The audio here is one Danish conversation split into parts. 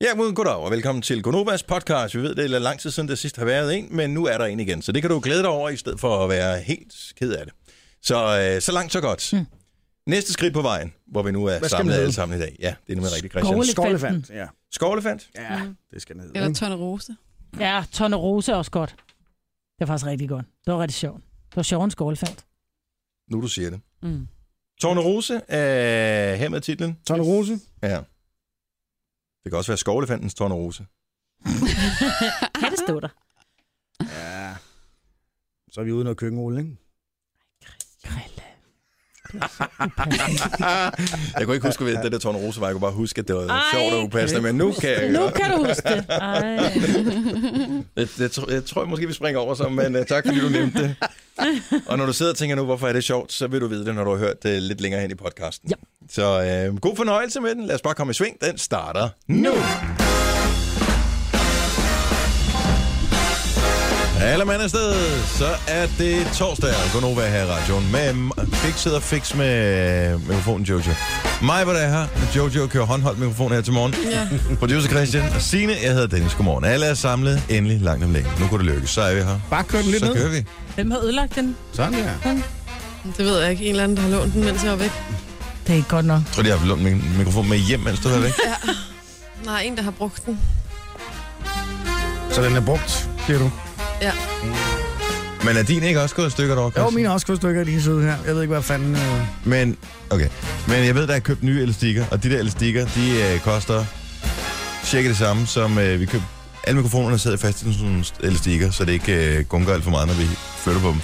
Ja, god goddag og velkommen til Gonovas podcast. Vi ved, det er lang tid siden, der sidst har været en, men nu er der en igen. Så det kan du glæde dig over, i stedet for at være helt ked af det. Så, øh, så langt, så godt. Mm. Næste skridt på vejen, hvor vi nu er skal samlet man alle hedde? sammen i dag. Ja, det er nemlig rigtigt, Christian. Skovle- Elefanten. Skovlefant. Ja. Skovlefant? ja, Mm. det skal ned. Eller Tone Rose. Ja, Tonne Rose er også godt. Det var faktisk rigtig godt. Det var rigtig sjovt. Det var sjovt en skålfald. Nu du siger det. Mm. Tårne Rose er her med titlen. Tone Rose. Ja. Det kan også være Skovlefantens Tårne Rose. Kan det stå der? Ja. Så er vi ude i noget køkkenrulle, ikke? Krille. Jeg kunne ikke huske, hvad det der Tårne Rose var. Jeg kunne bare huske, at det var Ej. sjovt og upassende, men nu kan jeg Nu kan du huske det. Ej. Jeg, jeg, tror- jeg tror måske, vi springer over så, men uh, tak fordi du nævnte det. Og når du sidder og tænker nu, hvorfor er det sjovt, så vil du vide det, når du har hørt det lidt længere hen i podcasten. Ja. Så uh, god fornøjelse med den. Lad os bare komme i sving. Den starter nu. Alle mand er sted, så er det torsdag. Gunova her i radioen med Fix sidder Fix med øh, mikrofonen Jojo. Mig var der her. Jojo kører håndholdt mikrofon her til morgen. Ja. Producer Christian og Signe, jeg hedder Dennis. Godmorgen. Alle er samlet endelig langt om længe. Nu kunne det lykkes, så er vi her. Bare kør den lidt så ned. kører vi. Hvem har ødelagt den? Sådan, ja. Det ved jeg ikke. En eller anden, der har lånt den, mens jeg var væk. Det er ikke godt nok. Jeg tror, de har lånt min mikrofon med hjem, mens du var væk. Nej, en, der har brugt den. Så den er brugt, siger du? Men er din ikke også gået i stykker over, Jo, mine er også kunststykker lige sidde her. Jeg ved ikke, hvad fanden... Øh... Men, okay. Men jeg ved, der er købt nye elastikker, og de der elastikker, de øh, koster cirka det samme, som øh, vi købte. Alle mikrofonerne sidder fast i sådan nogle elastikker, så det ikke øh, gunker alt for meget, når vi flytter på dem.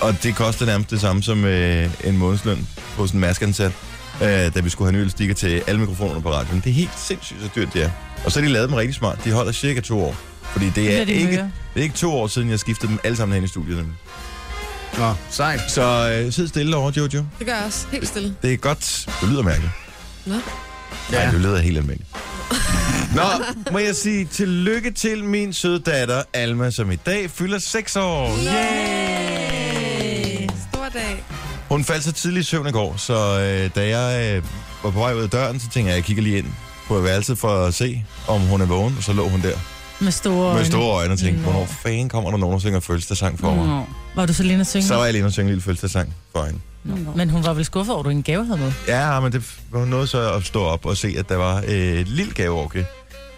Og det koster nærmest det samme som øh, en månedsløn på sådan en maskeansat, øh, da vi skulle have nye elastikker til alle mikrofonerne på radioen. Det er helt sindssygt, så dyrt det er. Og så har de lavet dem rigtig smart. De holder cirka to år. Fordi det er, Bliver det de ikke, møre? det er ikke to år siden, jeg skiftede dem alle sammen herinde i studiet. nemlig. Nå, sejt. Så øh, sid stille over, Jojo. Det gør jeg også. Helt stille. Det er godt. Det lyder mærkeligt. Nå. Nej, Ja. det lyder helt almindeligt. Nå, må jeg sige tillykke til min søde datter Alma, som i dag fylder 6 år. Yay! Stor dag. Hun faldt så tidligt i søvn i går, så øh, da jeg øh, var på vej ud af døren, så tænkte jeg, at jeg kigger lige ind på værelset for at se, om hun er vågen, og så lå hun der Med store med øjne. store øjne og tænkte, Nå. Mm. hvornår fanden kommer der nogen, der synger fødselsdagssang for mig? Nå. Var du så lige inde og synge? Så var jeg lige inde og synge en lille fødselsdagssang for hende. Men hun var vel skuffet over, at du en gave havde med? Ja, men det var noget så at stå op og se, at der var øh, et lille gaveorke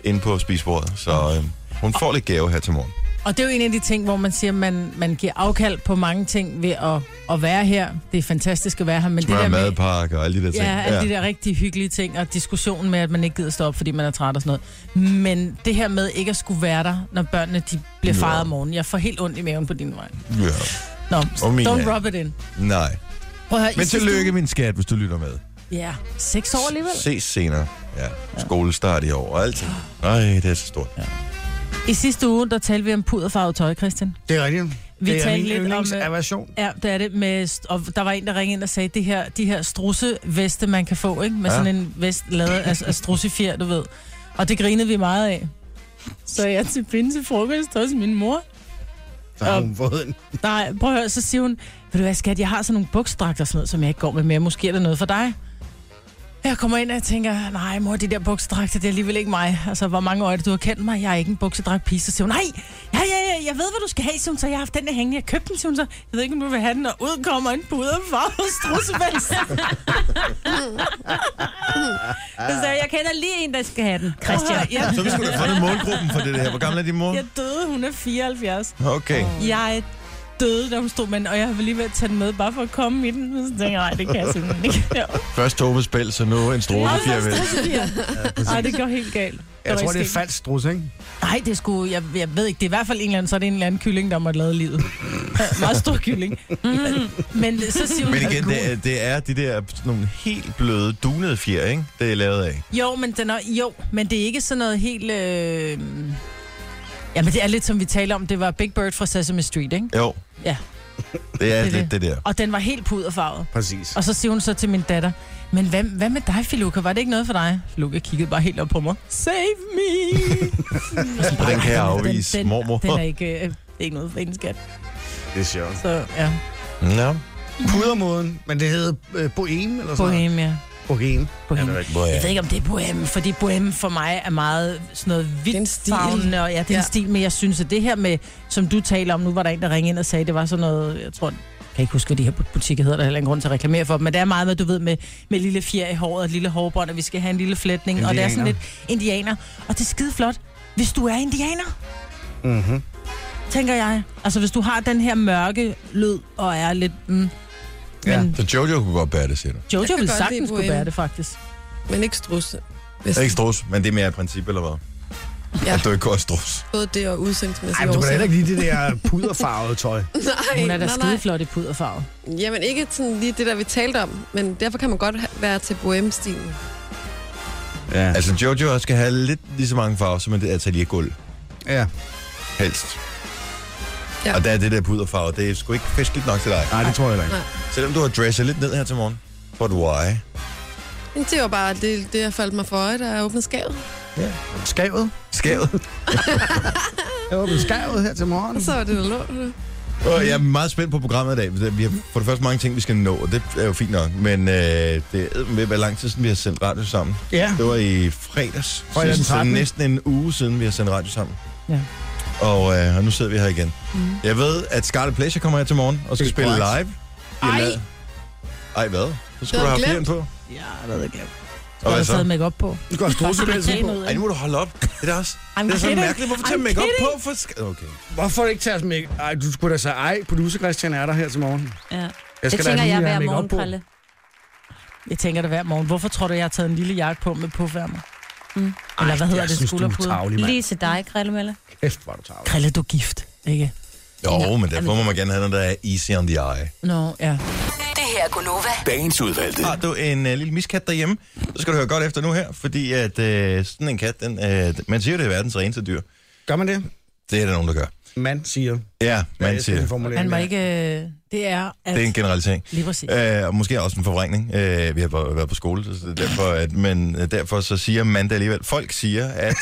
inde på spisbordet. Så øh, hun får lidt gave her til morgen. Og det er jo en af de ting, hvor man siger, at man, man giver afkald på mange ting ved at, at være her. Det er fantastisk at være her, men det Smør der med... madpakke og alle de der ting. Ja, alle de der rigtig hyggelige ting, og diskussionen med, at man ikke gider stå op, fordi man er træt og sådan noget. Men det her med ikke at skulle være der, når børnene de bliver Ja. fejret om morgenen. Jeg får helt ondt i maven på din vej. ja. Nå, Og min don't er- rub it in. Nej. Prøv at høre, Men I sidste tillykke, min skat, hvis du lytter med. uge- Ja, seks år alligevel. Ses senere. Ja. Skolestart i år og alt. Nej, det er så stort. Ja. I sidste uge, der talte vi om puderfarvet tøj, Christian. Det er rigtigt. Vi det er talte min lidt om, øh, yndlingsaversion. Ja, det er det. Med, st- og der var en, der ringede ind og sagde, det her, de her strusseveste, man kan få, ikke? Med Ja. ja. sådan en vest lavet af, af strussefjer, du ved. Og det grinede vi meget af. Så jeg er til pinde til frokost hos min mor. Så har hun fået en. Nej, prøv at høre, så siger hun, ved du hvad skat, jeg har sådan nogle buksdragter og sådan noget, som jeg ikke går med mere. Måske er der noget for dig. Jeg kommer ind, og jeg tænker, nej mor, de der buksedragter, det er alligevel ikke mig. Altså, hvor mange år er det, du har kendt mig? Jeg er ikke en buksedragt pige. Så siger hun, nej, ja, ja, ja, jeg ved, hvad du skal have, siger hun, så jeg har haft den der hængende. Jeg købte den, siger hun så. Jeg ved ikke, om du vil have den, og ud kommer en puderfarvet strussevals. Så sagde jeg, jeg kender lige en, der skal have den. Christian. Prøv at høre, Så vi skulle have fundet målgruppen for det her. Hvor gammel er din mor? Jeg, jeg døde, hun er 74. Okay. Jeg døde, da hun stod med den, og jeg var lige ved at tage den med, bare for at komme i den. Men Så tænkte jeg, nej, det kan jeg simpelthen ikke. Ja. Først Tove spil, så nu en strosefjervæld. Nej, det går helt galt. Jeg tror, det er falsk strus, ikke? Nej, det skulle, jeg, jeg ved ikke, det er i hvert fald en eller anden, så er det en eller anden kylling, der måtte lave livet. Ja, meget stor kylling. Mm, men så siger hun, Men igen, det er, det er de der sådan nogle helt bløde, dunede fjer, ikke? Det er lavet af. jo, men den er, jo, men det er ikke sådan noget helt... Øh... Jamen, det er lidt som vi taler om, det var Big Bird fra Sesame Street, ikke? Jo. Ja. Det er Det er lidt det der. Og den var helt puderfarvet. Præcis. Og så siger hun så til min datter, men hvad, hvad med dig, Filuka? Var det ikke noget for dig? Filuka kiggede bare helt op på mig. Save me! Den kan jeg afvise, den, mormor. Den er ikke, øh, det er ikke noget for en skat. Det er sjovt. Så ja, Ja. Pudermåden, men det hedder øh, bohem, eller sådan noget. bohemia. Bogen. bohem. Hvor Jeg er ved ikke, om det er bohem, fordi bohem for mig er meget sådan noget er en vildt stil. farvende, og ja, det er ja. Ja. en stil, men jeg synes, at det her med, som du taler om, nu var der en, der ringede ind og sagde, det var sådan noget, jeg tror, jeg kan ikke huske, hvad de her butikker hedder, der er heller ingen grund til at reklamere for dem, men det er meget med, du ved, med, med lille fjer i håret og et lille hårbånd, og vi skal have en lille flætning, og det er sådan Indianer. lidt indianer, og det er skide flot, hvis du er indianer. Mm-hmm. tænker jeg. Altså, hvis du har den her mørke lyd og er lidt... Mm, Ja. Men Så Jojo kunne godt bære det, siger du. Jeg Jojo kan ville godt lide sagtens kunne boheme. bære det, faktisk. Men ikke strusse. Det er ikke strus, men det er mere et princip, eller hvad? Ja. At du ikke går strus. Både det og Ej, udsendingsmæssigt. men du kan da heller ikke lide det der puderfarvede tøj. Nej, Hun er da nej, nej. skideflot i puderfarve. Jamen ikke sådan lige det, der vi talte om, men derfor kan man godt ha- være til bohème-stilen. Ja. Altså, Jojo også skal have lidt lige så mange farver, som det ateliergulv. ja. Helst. Ja. Ja. Og der er det der puderfarve, det er sgu ikke festligt nok til dig. Nej, det tror jeg heller ikke. Nej. Selvom du har dresset lidt ned her til morgen. But why? Men det var bare det, det jeg faldt mig for øje, da jeg åbnede skabet. Skavet. Skævet. Jeg åbnede skavet her til morgen. Og så var det, der lå. der. Og jeg er meget spændt på programmet i dag. Vi har for det første mange ting, vi skal nå, og det er jo fint nok. Men øh, det er med, hvor lang tid siden vi har sendt radio sammen. Ja. Det var i fredags. Fredag den Så- så 13.. næsten en uge siden, vi har sendt radio sammen. Ja. Og, øh, og nu sidder vi her igen. Mm. Jeg ved, at Scarlet Pleasure kommer her til morgen og skal Det er spille korrekt. live. De har Ej. lavet- Ej, hvad? Så skulle Det du har have jeg fjern på. Ja, det ved jeg ikke. Og Og hvad der stadig så? make op på. Du skal have strudsepelsen på. Ej, nu må du holde op. Det er da også I'm det er så kidding. mærkeligt. Hvorfor tager I'm make kidding. på? For sk- okay. Hvorfor ikke tage os med? Ej, du skulle da sige, ej, producer Christian er der her til morgen. Ja. Jeg Det da tænker lige jeg have hver make-up morgen, på. Krille. Jeg tænker det hver morgen. Hvorfor tror du, jeg har taget en lille jakke på med puffærmer? Mm. Eller hvad Ej, hedder jeg det? synes, du er Skulderpude? tavlig, mand. Lige til dig, Krille Kæft, hvor er du tavlig. Krille, du er gift, ikke? Jo, men derfor må man gerne have noget, der er easy on the eye. Nå, ja. Det her er Gunova. Dagens udvalgte. Har du en uh, lille miskat derhjemme, så skal du høre godt efter nu her, fordi at uh, sådan en kat, den, uh, man siger jo, det er verdens reneste dyr. Gør man det? Det er der nogen, der gør. Man siger. Ja, Hvad er man det siger. for en formulering? Han var ikke... Øh, det er... At, Det er en generalisering. Lige præcis. Øh, og måske også en forvrængning. Øh, vi har bare været på skole, så det er derfor, at, men øh, derfor så siger man det alligevel. Folk siger, at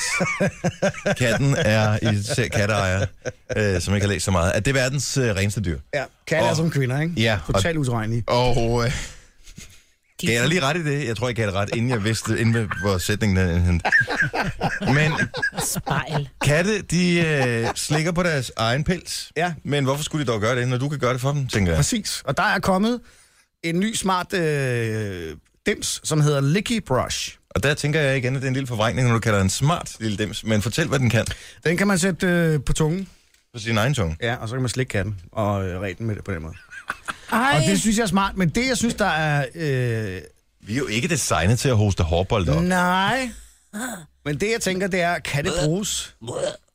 katten er, især katteejere, øh, som ikke har læst så meget, at det er verdens øh, reneste dyr. Ja, katte er Og- som kvinder, ikke? Ja, og- Totalt utilregnelige. Og øh, gav jeg dig lige ret i det? Jeg tror, jeg gav dig ret, inden jeg vidste, inden hvor sætningen er indhentet. Men Spejl. katte, de øh, slikker på deres egen pels. Ja. Men hvorfor skulle de dog gøre det, når du kan gøre det for dem, tænker jeg. Præcis. Og der er kommet en ny smart øh, dims, som hedder Licky Brush. Og der tænker jeg igen, at det er en lille forvrængning, når du kalder den smart lille dims. Men fortæl, hvad den kan Den kan man sætte øh, på tungen, på sin egen tunge. ja, og så kan man slikke katten og øh, ræde den med det på den måde. Ej, Og det synes jeg er smart, men det, jeg synes, der er... Øh, Vi er jo ikke designet til at hoste hårbold op. nej. Men det, jeg tænker, det er, kan det bruges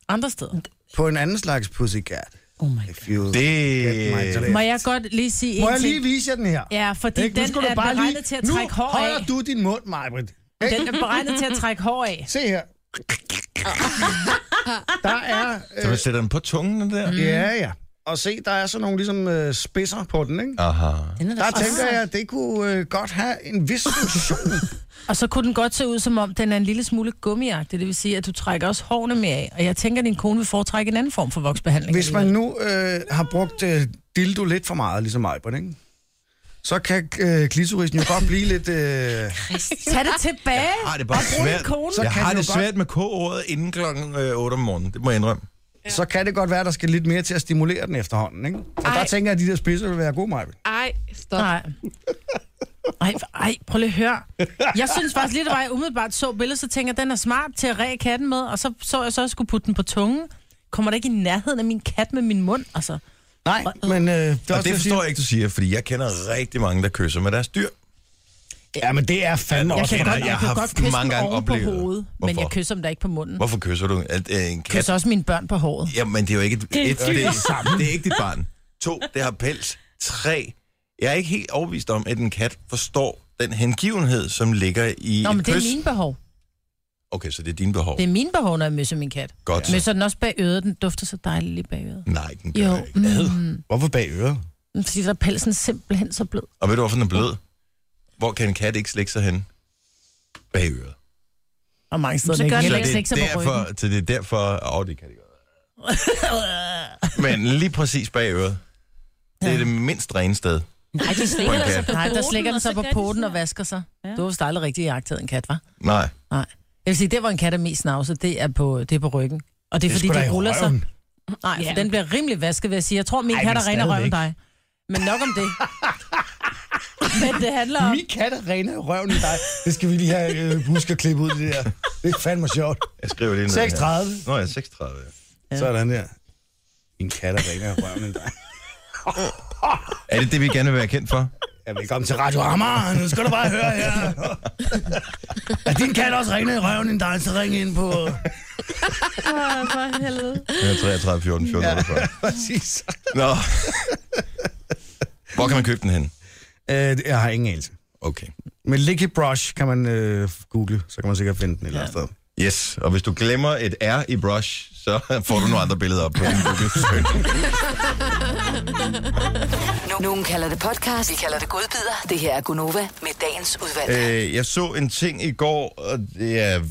andre steder. på en anden slags pussycat? Oh my If you Det... get my drift? Må jeg godt lige sige en Må jeg ting? lige vise jer den her? Ja, fordi Ikke? Nu den skal du er bare beregnet lige- til at trække hår Nu af. holder du din mund, Majbrit. Den er beregnet til at trække hår af. Se her. Der er... øh, Så man sætter den på tungen, den der? Ja, ja. Og se, der er sådan nogle ligesom øh, spidser på den, ikke? Aha. Der tænker jeg, at det kunne øh, godt have en vis funktion. Og så kunne den godt se ud, som om den er en lille smule gummiagtig. Det vil sige, at du trækker også hårene mere af. Og jeg tænker, at din kone vil foretrække en anden form for voksbehandling. Hvis man nu øh, har brugt øh, dildo lidt for meget, ligesom Ejbert, ikke? Så kan øh, klitorisen jo godt blive lidt... Øh, Tag det tilbage. Ej, det er bare brug en svært. kone. Jeg Så kan har den det jo godt- svært med k-ordet inden klokken øh, 8 om morgenen. Det må jeg indrømme. Så kan det godt være, at der skal lidt mere til at stimulere den efterhånden, ikke? Så der Ej. tænker jeg, at de der spidser vil være gode, Majbet. Ej, stop. Nej. Ej, for- ej, prøv lige at høre. Jeg synes faktisk lige, det var, jeg umiddelbart så billedet, så tænker jeg, den er smart til at ræge katten med, og så så jeg så, at jeg skulle putte den på tungen. Kommer der ikke i nærheden af min kat med min mund? Altså, Nej, men øh, det, er også, Og det forstår jeg ikke, du siger, fordi jeg kender rigtig mange, der kysser med deres dyr. Ja, men det er fandme Jeg også... kender- noget. jeg kan har godt kysse mange dem gange oven på oplevet- hovedet, men Hvorfor? jeg kysser dem da ikke på munden. Hvorfor kysser du at, øh, en kat? Kysser også mine børn på håret. Jamen, det er jo ikke et, det, er et, det, er, det er ikke dit barn. To, det har pels. Tre, jeg er ikke helt overbevist om, at en kat forstår den hengivenhed, som ligger i Nå, et men det kys. er mine behov. Okay, så det er dine behov. Det er mine behov, når jeg møsser min kat. Godt. Møsser den også bag øret, den dufter så dejligt lige bag øret. Nej, den gør Jo, mm. jo. ikke. Ad. Hvorfor bag øret? Fordi der er pelsen simpelthen så blød. Og ved du, hvorfor den er blød? Hvor kan en kat ikke slikke sig hen? Bag øret. Og mange steder Så den gør ikke. den Så Heller det ikke slikke det sig er på ryggen. derfor... Så det er derfor... Åh, oh, det kan de godt. Men lige præcis bag øret. Det er det mindst rene sted. Nej, de På slikker en der kat. sig på Nej, der poten, slikker den og sig så på gør de poten sådan og her. vasker sig. Ja. Du har vist aldrig rigtig jagtet en kat, var? Nej. Jeg vil sige, det hvor en kat er mest snavset, det er på, det er på ryggen. Og det Det er, er fordi, sgu da i de ruller sig. røven. Nej, for Ja. den bliver rimelig vasket, vil jeg sige. Jeg tror, min Ej, kat men er renere røven end dig. stadigvæk. Men nok om det. men det handler om... Min kat er renere i røven end dig. Det skal vi lige have øh, huske at klippe ud, det der. Det er fandme sjovt. Jeg skriver lige ned her. 36. Nå ja, 36. ja. Ja. Sådan der. Min kat er renere i røven end dig. Er det det, vi gerne vil være kendt for? Ja, velkommen til Radio Amager. Nu skal du bare høre her. Er din kat også renere i røven end dig, så ring ind på... for helvede. Ja, 33, 14, 14, 48. Præcis. Nå. Hvor kan man købe den hen? Øh, jeg har ingen anelse. Okay. Men Licky Brush kan man øh, google, så kan man sikkert finde den et eller andet sted. Yes, og hvis du glemmer et R i brush, så får du nogle andre billeder op på din Google. Nogen kalder det podcast, vi kalder det godbider. Det her er Gunova med dagens udvalg. Øh, jeg så en ting i går, og jeg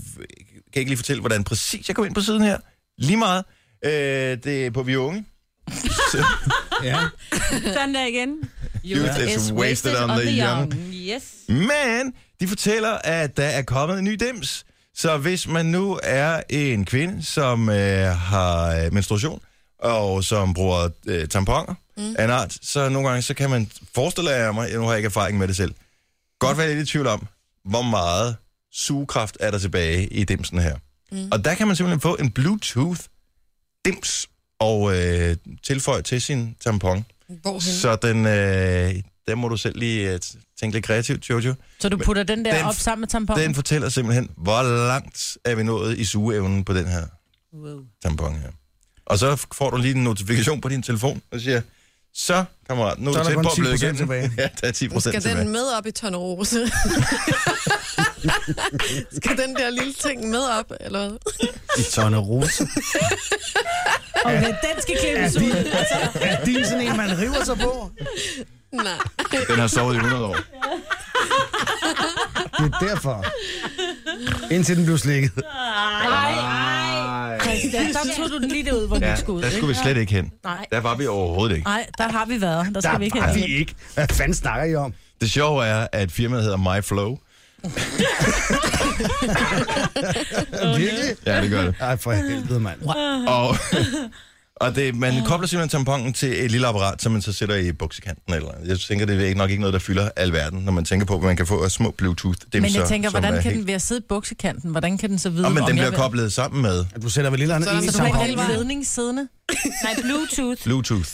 kan ikke lige fortælle, hvordan præcis jeg kom ind på siden her. Lige meget. Øh, det er på Vi Unge. Ja. Sådan der igen. Youth is wasted on the young. Yes. Men de fortæller, at der er kommet en ny dims. Så hvis man nu er en kvinde, som øh, har øh, menstruation, og som bruger øh, tamponer mm. af en art, så nogle gange så kan man forestille jer mig, jeg nu har jeg ikke erfaring med det selv, godt være lidt i tvivl om, hvor meget sugekraft er der tilbage i dimsen her. Mm. Og der kan man simpelthen få en Bluetooth-dims og øh, tilføje til sin tampon. Hvorhen? Så den, øh, der må du selv lige øh, tænke lidt kreativt, Jojo. Så du putter den der den- op sammen med tamponen? Den fortæller simpelthen, hvor langt er vi nået i sugeevnen på den her Wow. tampon her. Og så f- får du lige en notifikation på din telefon, og siger, så kammerat, nu Så er er du der tæt kun på at blive 10% igen. tilbage. Ja, der er 10 Skal procent tilbage. den med op i Tonerose? Skal den der lille ting med op, eller hvad? I tonne rose. Okay, den skal klippes ud. Er din sådan en, man river sig på? Nej. Den har sovet i 100 år. Det er derfor. Indtil den blev slikket. Christian, der tog du den lige derud, hvor ja, Ja, du skulle ud. der skulle vi ikke? slet ikke hen. Nej. Der var vi overhovedet ikke. Nej, der har vi været. Der skal vi ikke var have vi ikke. Hvad fanden snakker I om? Det sjove er, at firmaet hedder MyFlow. Virkelig? Ja, det gør det. Ej, for helvede, mand. Og, og det, man kobler simpelthen tamponen til et lille apparat, som man så sætter i buksekanten. Eller, jeg tænker, det er ikke nok ikke noget, der fylder alverden, når man tænker på, hvad man kan få af små bluetooth dimser Men jeg tænker, som er hvordan kan helt- den ved at sidde i buksekanten, hvordan kan den så vide, Og men om den jeg bliver vil- koblet sammen med Du sætter vel lille andet Så er ind i der Så du har samfundet? ikke Samtidig. en ledning siddende? Nej, Bluetooth. Bluetooth.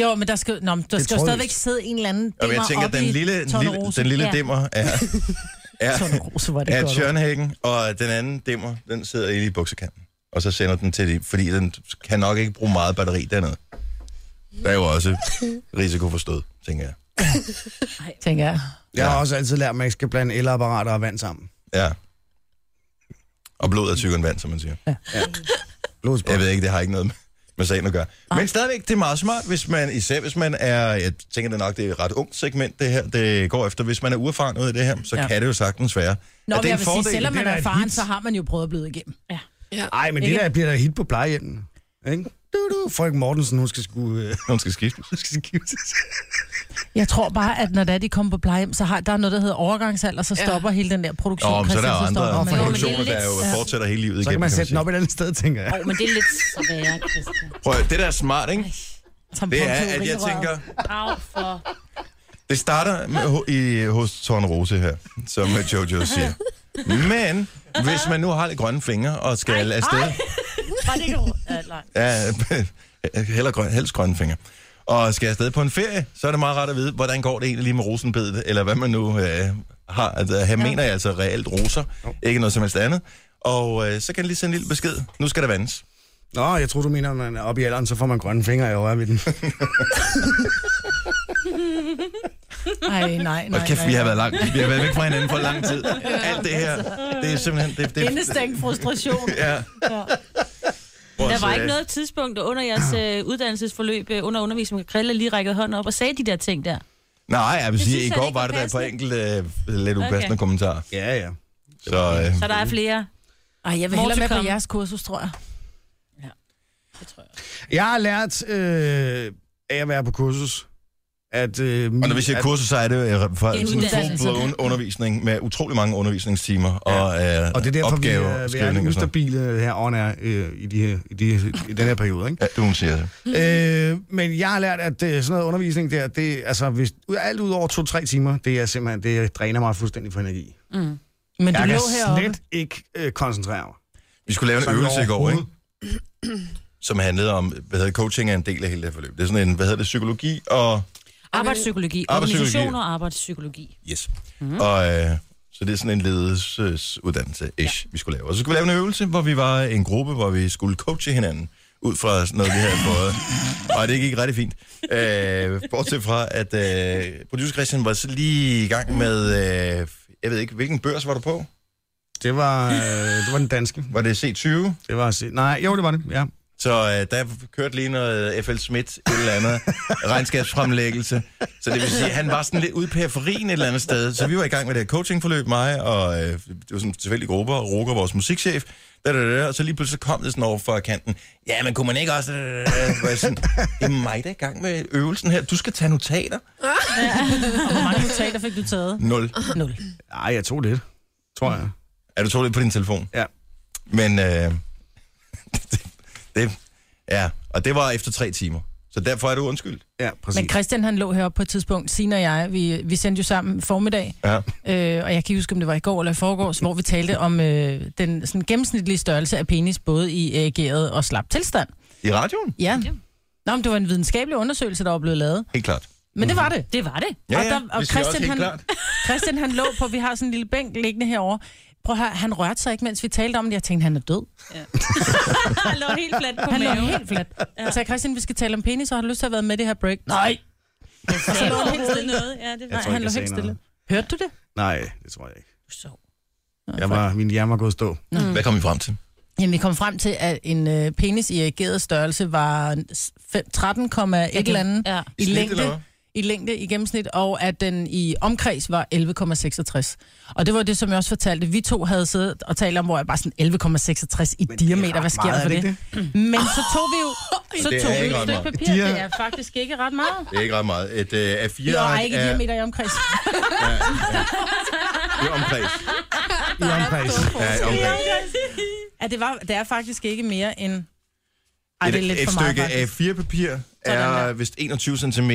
Jo, men der skal, nå, men der skal jo tror jeg stadigvæk ikke. sidde en eller anden Og jeg dimmer tænker, op den i lille, den lille, Tornerose. den lille Ja. dimmer er, er, Tornerose var det er godt. ord. Tjørnhækken, og den anden dimmer, den sidder inde i buksekanten. Og så sender den til de, fordi den kan nok ikke bruge meget batteri dernede. Der er jo også risiko for stød, tænker jeg. Tænker jeg. Jeg har også altid lært, at man ikke skal blande elapparater og vand sammen. Ja. Og blod er tykkere end vand, som man siger. Blodspot. Jeg ved ikke, det har ikke noget med- med sagen at gøre. Men stadigvæk, det er meget smart, hvis man, især hvis man er, jeg tænker det nok, det er et ret ungt segment, det her, det går efter. Hvis man er uerfaren ud af det her, så ja. Ja. kan det jo sagtens være. Nå, at det men er jeg en vil sige, fordel. selvom det man er da er et erfaren, hit. så har man jo prøvet at blive igennem. Ja. Nej, men det Ikke? der bliver da hit på plejehjemmet. Ikke? Du, du, Frøken Mortensen, hun skal sgu... Øh, Nogen skal skiftes. hun skal giftes. Jeg tror bare, at når det er, de kommer på plejehjem, så har, der er noget, der hedder overgangsalder, så stopper ja. hele den der produktion. Nå, men så er der Christian, andre stopper man. Nå, men det er produktioner, der jo lidt- fortsætter hele livet Så kan igennem. man kan sætte den sige. op et andet sted, tænker jeg. Åh, oh, men det er lidt sværere, Christian. Prøv, at- det der er smart, ikke? ligesom Det er, Tampontyveri at jeg i røret. tænker, Au, for... det starter med, ho- i, hos Torn Rose her, som Jojo siger. Men hvis man nu har lidt grønne fingre og skal afsted, Var det ikke ro- Nej. Ja, heller grøn, helst grønne fingre. Og skal jeg afsted på en ferie, så er det meget rart at vide, hvordan går det egentlig lige med rosenbedet, eller hvad man nu øh, har. Altså, her mener jeg altså reelt roser, ikke noget som helst andet. Og øh, så kan jeg lige sende en lille besked. Nu skal der vandes. Nå, jeg tror du mener, at man er oppe i alderen, så får man grønne fingre i øjeblikket. Ej, nej, Og nej, kæft, nej. vi har været langt. Vi har været væk fra hinanden for lang tid. Alt det her, det er simpelthen... Det, det, Indestængt frustration. Ja. Der var ikke noget tidspunkt under jeres øh, uddannelsesforløb, øh, under undervisning, hvor Krille lige rækkede hånden op og sagde de der ting der. Nej, jeg vil Det sige, i synes jeg går ikke var var det der et par passende. enkelte øh, lidt upassende Okay. kommentarer. ja, ja. Så øh, Så der er flere. Ej, jeg vil hellere med på Mortekom. jeres kursus, tror jeg. Jeg har lært øh, af at være på kursus, at... Øh, Og når vi siger at, kursus, så er det øh, for En sådan uddannelse. full-blown undervisning med utrolig mange undervisningstimer og, øh, og det er derfor, vi opgaver, er, vi er skrivning lidt og sådan noget. ustabile her on air, øh, i, de her, i, de, i den her periode. Ikke? Ja, det må man sige. altså. Øh, men jeg har lært, at øh, sådan noget undervisning der, det, altså, hvis, alt ud over to-tre timer, det er simpelthen, det dræner mig fuldstændig for energi. Men du Jeg lå kan heroppe. slet ikke øh, koncentrere mig. Vi skulle lave en Sådan øvelse i går, ikke? overhovedet. som handlede om, hvad hedder det, coaching er en del af hele det her forløb. Det er sådan en, hvad hedder det, psykologi og... Arbejdspsykologi, Arbejdspsykologi. organisationer og arbejdspsykologi. Yes. Mm. Og, øh, så det er sådan en ledelsesuddannelse ish ja. vi skulle lave. Og så skulle vi lave en øvelse, hvor vi var en gruppe, hvor vi skulle coache hinanden ud fra sådan noget, vi havde fået. Og det gik rigtig fint. Øh, bortset fra, at øh, producer Christian var så lige i gang med, øh, jeg ved ikke, hvilken børs var du på? Det var, øh, det var den danske. Var det C20? Det var, se- nej, jo, det var det, ja. Så øh, der kørte lige noget F.L. Schmidt, et eller andet regnskabsfremlæggelse. Så det vil sige, at han var sådan lidt ude i periferien et eller andet sted. Så vi var i gang med det her coachingforløb, mig og øh, det var sådan tilfældige grupper, og Roger, vores musikchef. Da, da, da, og så lige pludselig kom det sådan over fra kanten. Ja, men kunne man ikke også... Da, da, da, da, Hvor jeg sådan, det er mig, der er i gang med øvelsen her. Du skal tage notater. Og hvor mange notater fik du taget? Nul. Nul. Ej, jeg tog lidt, tror jeg. Er du tog lidt på din telefon? Ja. Men øh, det, det, ja, og det var efter tre timer. Så derfor er du undskyldt. Ja, præcis. Men Christian, han lå heroppe på et tidspunkt, Sina og jeg, vi, vi sendte jo sammen formiddag, Ja. øh, og jeg kan ikke huske, om det var i går eller i forgårs, hvor vi talte om øh, den sådan, gennemsnitlige størrelse af penis, både i ægeret og slap tilstand. I radioen? Ja. Nå, men det var en videnskabelig undersøgelse, der var blevet lavet. Helt klart. Men det var det. Det var det. Mhm. Ja, Og ja, der- og vi siger også Christian, helt han- klart. Christian, han lå på, vi har sådan en lille bænk liggende herovre. Prøv at høre, han rørte sig ikke, mens vi talte om det. Jeg tænkte, han er død. Han lå helt fladt på Han lå maven. helt fladt. Ja. Så Christian, vi skal tale om penis, og har du lyst til at være med i det her break? Nej. Så lå han helt stille. Noget. Ja, det var. Jeg Nej, tror ikke, han lå jeg helt sagde stille. noget. Hørte du det? Nej, det tror jeg ikke. Du sov. Jeg var, min hjerne var gået i stå. Hvad kom vi frem til? Jamen, vi kom frem til, at en øh, penis i erigeret størrelse var fem- 13,1 et eller andet Ja. i, snit, længde, eller hvad? i længde i gennemsnit, og at den i omkreds var 11,66. Og det var det, som jeg også fortalte. Vi to havde siddet og talt om, hvor jeg bare sådan 11,66 i diameter. Hvad sker der for det? det? Men så tog vi jo så Det er tog vi ikke ret jo et stykke meget. papir. De er- Det er faktisk ikke ret meget. Det er ikke ret meget. Et øh, A4 Jo, ej, ark ikke i er, diameter i omkreds. i omkreds. I omkreds. Ja, i omkreds. Ja, det, var, det er faktisk ikke mere end... Ej, Et, det er lidt et for meget, stykke faktisk. A4-papir Sådan er der. vist 21 cm.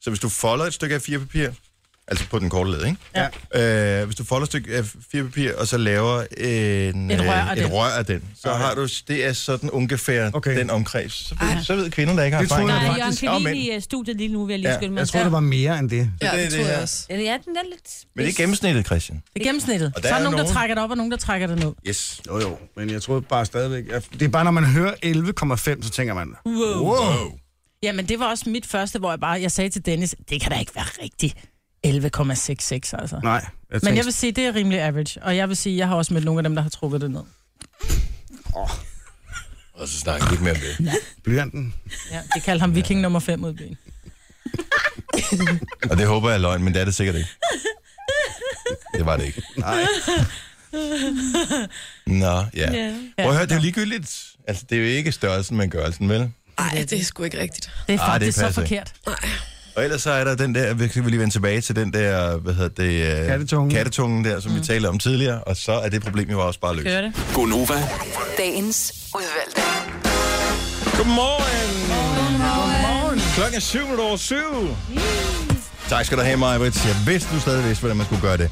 Så hvis du folder et stykke A4-papir, altså på den korte led, ikke? Ja. Øh, hvis du folder et stykke A4-papir, og så laver en, Et rør øh, af et den. rør af den, så har du, det er sådan ungefær Okay. den omkreds. Så ved, så ved kvinder, der ikke har Det troede erfaring. Der jeg er Jørgen faktisk- Nå, Kjellin men- i øh, studiet lige nu, vil jeg Ja, lige skylde mig. Jeg tror, det var mere end det. Ja, det er det, tror det, jeg ja. også. Ja, den er lidt... Men det er gennemsnittet, Christian. Det er gennemsnittet. Og Og der der så er er nogen, der nogen- trækker det op, og nogen, der trækker det ned. Yes. Jo, jo, men jeg troede bare stadigvæk... jeg- Det er bare, når man hører 11,5, så tænker Mm. man... Wow. wow. Jamen, det var også mit første, hvor jeg bare jeg sagde til Dennis, det kan da ikke være rigtigt. 11,66 altså. Nej, jeg Men tænkte, jeg vil sige, det er rimelig average. Og jeg vil sige, jeg har også mødt nogle af dem, der har trukket det ned. Og så snakker vi ikke mere om det. blyanten. Ja, det kaldte ham viking nummer 5 ud i byen. Og det håber jeg er løgn, men det er det sikkert ikke. Det var det ikke. Nej, Nå, ja. Ja. Prøv at høre, det er jo ligegyldigt. Altså, det er jo ikke størrelsen, men gørelsen, vel? Ej, det er sgu ikke rigtigt. Det er Ah, det faktisk ah, det så passer ikke. forkert. Og ellers så er der den der, vi skal lige vende tilbage til den der, hvad hedder det? øh, Kattetungen. Kattetungen der, som mm. vi talte om tidligere, og så er det problem jo også bare løst. Gør det. Gonova, Dagens udvalgte. Godmorgen! Godmorgen! Klokken er syv minutter over syv. Tak skal du have, Maja Brits. Jeg vidste, du stadig vidste, hvordan man skulle gøre det.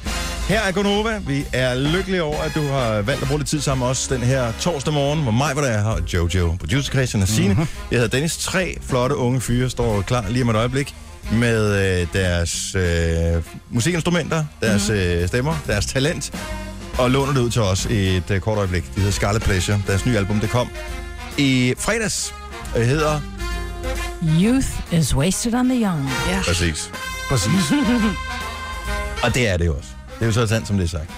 Her er Gonova. Vi er lykkelige over, at du har valgt at bruge lidt tid sammen med os den her torsdag morgen, hvor mig, hvor der er her, og Jojo, producer Christian og Signe. Mm-hmm. Jeg hedder Dennis. Tre flotte unge fyre står klar lige om et øjeblik med øh, deres øh, musikinstrumenter, deres mm-hmm. øh, stemmer, deres talent, og låner det ud til os i et øh, kort øjeblik. Det hedder Scarlet Pleasure. Deres nye album, det kom i fredags, og det hedder... Youth is wasted on the young. Ja. Præcis. præcis. Og det er det jo også. Det er jo så sandt, som det er sagt.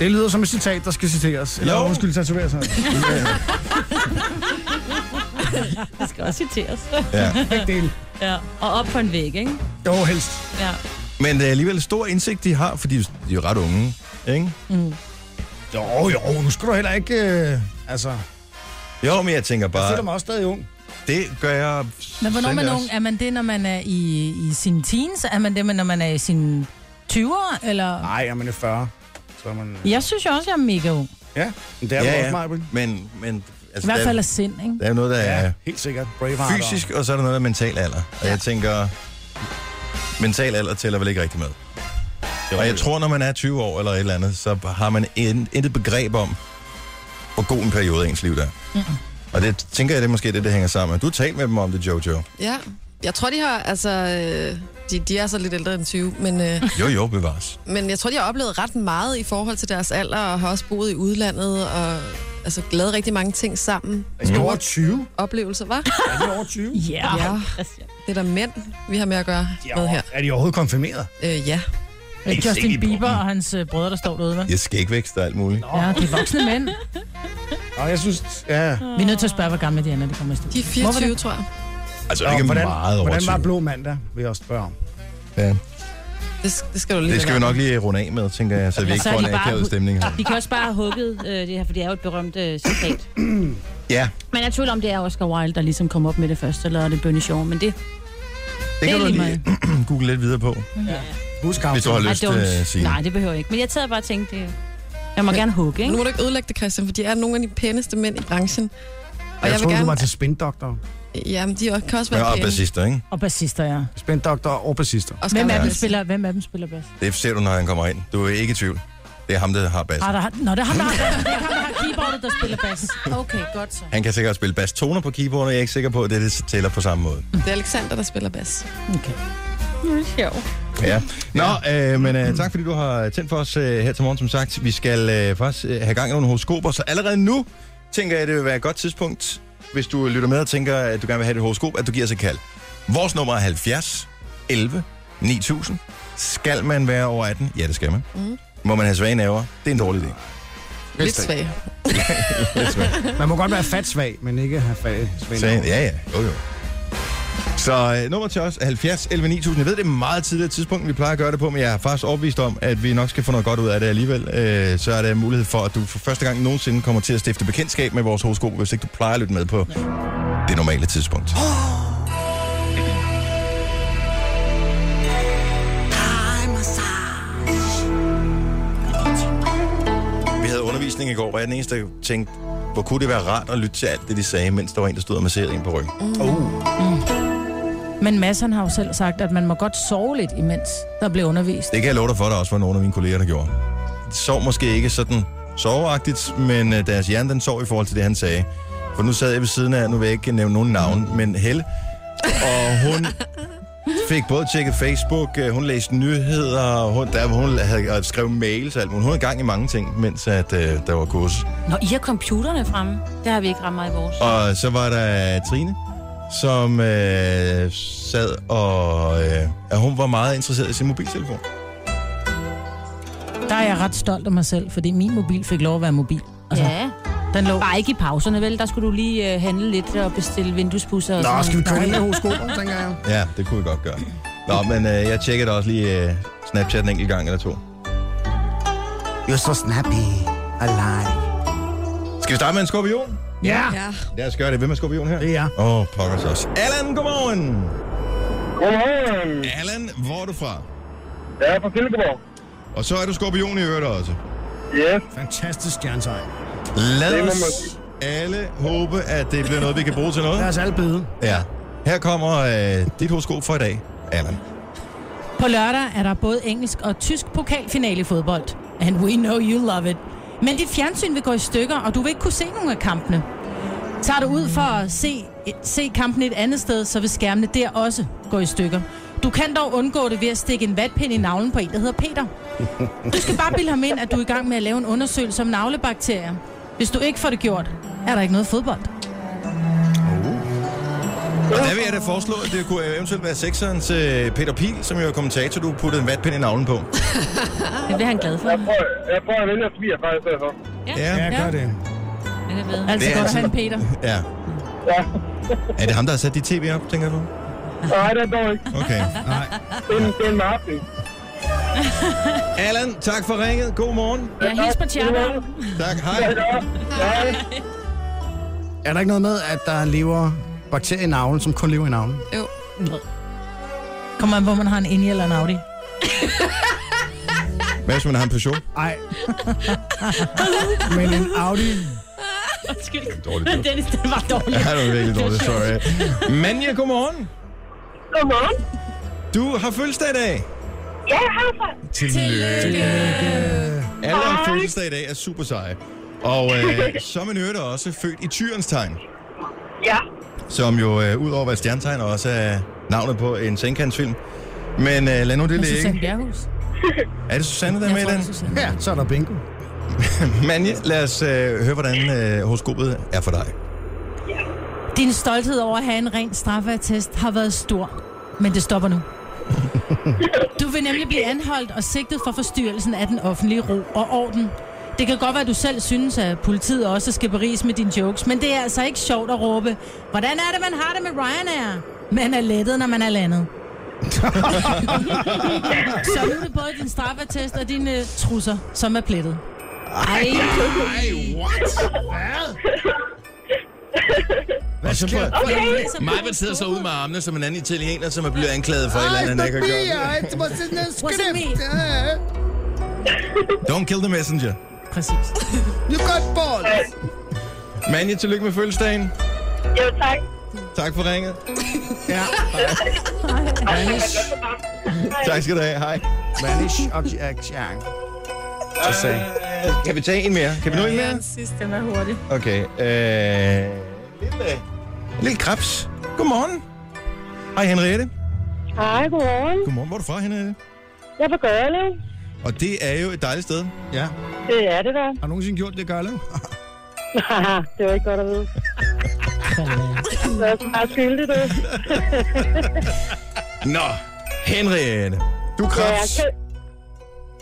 Det lyder som et citat, der skal citeres. Eller Jo. undskyld, tatoveres her. Det skal også citeres. Ja. Del. ja. Og op på en væg, ikke? Jo, helst. Ja. Men det er alligevel stor indsigt, de har, fordi de er jo ret unge, ikke? Jo, jo, nu skal du heller ikke... Øh, altså, Jo, men jeg tænker jeg føler bare, mig også stadig ung. det gør jeg Men hvornår man sandelig ung? også. Er man det, når man er i, i sine teens? Er man det, når man er i sine 20'er? Eller? Nej, man er 40. Så er man... Ah. Jeg synes jo også, jeg er mega ung. Ja, men det er ja, ja, også mig, ja. Men, men I altså, hvert der, fald er sind, ikke? der er noget, der Ja, er helt sikkert. Braveheart. fysisk, og så er der noget, der er mental alder. Og jeg tænker, mental alder tæller vel ikke rigtig med. Og jeg tror, når man er 20 år eller et eller andet, så har man in- intet begreb om, hvor god en periode ens liv der. Mm. Og det tænker jeg, det er måske det, det hænger sammen med. Du har talt med dem om det, Jojo. Ja. Jeg tror, de har, altså... øh, De, de er så lidt ældre end 20, men, øh, Jo, jo, bevares. men jeg tror, de har oplevet ret meget i forhold til deres alder, og har også boet i udlandet, og altså, lavet rigtig mange ting sammen. Er Mm. de over 20? Oplevelser, var? Er de over 20? Ja. Ja. Christian. Det er der mænd, vi har med at gøre De er, med her. over, er de overhovedet konfirmeret? Øh, ja. Yeah. Justin Bieber og hans øh, brødre, der står derude, hva'? Jeg skal ikke vækste og alt muligt. Ja, det er voksne mænd. Nå, jeg synes... Ja. Vi er nødt til at spørge, hvor gamle de er, når de kommer i studiet. De er Må vi 24, det? tror jeg. Altså, Nå, ikke hvordan, meget over hvordan var 20. Blå Mandag, vil jeg også spørge om. Ja. Det, det skal du lige Det skal vi vende nok lige runde af med, tænker jeg, så vi ikke så er får en de bare akavet ud- stemning her. De kan også bare have hugget øh, det her, for det er jo et berømt øh, citat. Ja, Men jeg er i tvivl om, det er Oscar Wilde, der ligesom kom op med det først, eller er det Bernie Shaw, men det, det kan er du lige lige google lidt videre på, Husk hvis du har I lyst til at don't. sige. Nej, det behøver jeg ikke. Men jeg sad og bare og tænkte, det- jeg må gerne hugge, Nu ikke? må du ikke ødelægge det, Christian, for de er nogle af de pæneste mænd i branchen. Og Jeg, jeg, jeg vil troede, gerne... du var til spindoktor. Jamen, de er- kan også Men være og pæne. bassister, ikke? Og bassister, ja. Spindoktor og bassister. Og skal Hvem af være dem bassist. spiller, hvem af dem spiller bass? Det ser du, når han kommer ind. Du er ikke i tvivl. Det er ham, der har bassen. Ah, der, har- nå, det er ham, der har, det er ham, der har keyboardet, der spiller bass. Okay, godt så. Han kan sikkert spille basstoner på keyboardet, og jeg er ikke sikker på, at det, det tæller på samme måde. Det er Alexander, der spiller bas. Okay. Ja. Nå, øh, men øh, tak fordi du har tændt for os øh, her til morgen, som sagt. Vi skal øh, faktisk øh, have gang i nogle horoskoper, så allerede nu tænker jeg, at det vil være et godt tidspunkt, hvis du lytter med og tænker, at du gerne vil have et horoskop, at du giver os et kald. Vores nummer er 70 11 9000. Skal man være over 18? Ja, det skal man. Mm. Må man have svage naver? Det er en dårlig idé. Lidt svag. Man må godt være fatsvag, men ikke have fag svag. Sagen, ja, ja. Jo, jo. Så øh, nummer til os er 70 11 9000. Jeg ved, det er meget tidligere tidspunkt, vi plejer at gøre det på, men jeg er faktisk overbevist om, at vi nok skal få noget godt ud af det alligevel. Øh, så er der mulighed for, at du for første gang nogensinde kommer til at stifte bekendtskab med vores horoskop, hvis ikke du plejer at lytte med på det normale tidspunkt. Vi havde undervisning i går, og jeg er den eneste, der tænkte, hvor kunne det være rart at lytte til alt det, de sagde, mens der var en, der stod og masserede en på ryggen. Men Mads, han har jo selv sagt, at man må godt sove lidt, imens der bliver undervist. Det kan jeg love dig for, at der også var nogle af mine kolleger, der gjorde. De sov måske ikke sådan soveagtigt, men øh, deres hjerne den sov i forhold til det, han sagde. For nu sad jeg ved siden af, nu vil jeg ikke nævne nogen navn, men Helle. Og hun fik både tjekket Facebook, øh, hun læste nyheder, og hun, der, hun havde, og skrev mails og alt muligt. Hun havde gang i mange ting, mens at, øh, der var kursus. Nå, I har computerne fremme. Det har vi ikke ramt meget i vores. Og så var der Trine, som øh, sad og... Øh, at hun var meget interesseret i sin mobiltelefon. Der er jeg ret stolt af mig selv, fordi min mobil fik lov at være mobil. Altså, ja. Ja, den lå... bare ikke i pauserne, vel? Der skulle du lige øh, handle lidt og bestille vinduespusser og Nå, sådan skal vi noget. køre ind med horoskoperne, tænker jeg. Ja, det kunne vi godt gøre. Nå, men øh, jeg tjekkede også lige øh, Snapchat en enkelt gang eller to. You're so snappy. Alive. Skal vi starte med en skorpion? Ja, Ja. Lad os gøre det. Hvem er skorpion her? det er jeg. Åh, oh, pokker så også. Allan, godmorgen! Godmorgen. Allan, hvor er du fra? Jeg er fra Silkeborg. Og så er du skorpion i øvrigt også. Yes. Fantastisk stjernetegn. Lad Det må os alle håbe, at det bliver noget, vi kan bruge til Lad noget. os alle bede. Ja. Her kommer øh, dit horoskop for i dag, Allan. På lørdag er der både engelsk og tysk pokalfinale i fodbold. And we know you love it. Men dit fjernsyn vil gå i stykker, og du vil ikke kunne se nogen af kampene. Tager du ud for at se, se kampen et andet sted, så vil skærmene der også gå i stykker. Du kan dog undgå det ved at stikke en vatpind i navlen på en, der hedder Peter. Du skal bare bilde ham ind, at du er i gang med at lave en undersøgelse om navlebakterier. Hvis du ikke får det gjort, er der ikke noget fodbold. Uh. Og der vil jeg da foreslå, at det kunne eventuelt være sekserens øh, Peter Pil, som jo er kommentator, du puttede en vatpind i navlen på. Det bliver han glad for. Jeg prøver, jeg prøver at vælge at svige faktisk i stedet for. Ja, gør det. Han er glad. Altså Det er godt at altså- have en Peter. Ja. Ja. Er det ham, der har sat dit tv op, tænker du? Nej, det går ikke. Okay. Det er en, det er en med aften. Allan, tak for ringet. God morgen. Ja, hils på Tjerno. Tak, hej. Ja. Er der ikke noget med, at der lever bakterie i navlen, som kun lever i navlen. Jo. Kommer an på, om man har en India eller en Audi. Hvad hvis man har en Peugeot? Ej. Men en Audi... Undskyld. Dårligt. joke. Dennis, den var dårlig. Ja, det var virkelig dårligt, sorry. Manja, godmorgen. Godmorgen. Du har fødselsdag i dag. Ja, jeg har så. Tillykke. Alle har fødselsdag i dag er super seje. Og øh, som en hørte også født i tyrens tegn, Ja. som jo øh, udover at være et stjernetegn også er navnet på en senkantsfilm. Men øh, lad nu det ligge. Susanne Bjerghus. Er det Susanne, der er med i den? Ja, så er der bingo. Manja, lad os øh, høre, hvordan øh, horoskopet er for dig. Din stolthed over at have en ren straffeattest har været stor, men det stopper nu. Du vil nemlig blive anholdt og sigtet for forstyrrelsen af den offentlige ro og orden. Det kan godt være, at du selv synes, at politiet også skal beriges med dine jokes, men det er altså ikke sjovt at råbe, hvordan er det, man har det med Ryanair? Man er lettet, når man er landet. Så nu er det både din straffeattest og dine øh, trusser, som er plettet. Ej, Hvad sker der? Okay. Majbert sidder så ud med armene som en anden italiener, som er blevet anklaget for et eller andet, han ikke har gjort. what's it me? Don't kill the messenger. Præcis. Manja, tillykke med fødselsdagen. Jo, tak. Tak for ringet. Ja, Tak skal du have. Hej. vanish og Chiang. Så sagde Kan vi tage en mere? Kan vi nå en mere? Den sidste, den er hurtig. Okay. Øh, lille, lille krebs. Godmorgen. Hej Henriette. Hej, godmorgen. Godmorgen. Hvor er du fra, Henriette? Jeg er på Gørlev. Og det er jo et dejligt sted. Ja, Det er det der. har du nogensinde gjort det, Gørlev? Haha, det var ikke godt at vide. Jeg er så meget skyldig, du. Nå, Henriette. Du er Ja, jeg krebs. kan...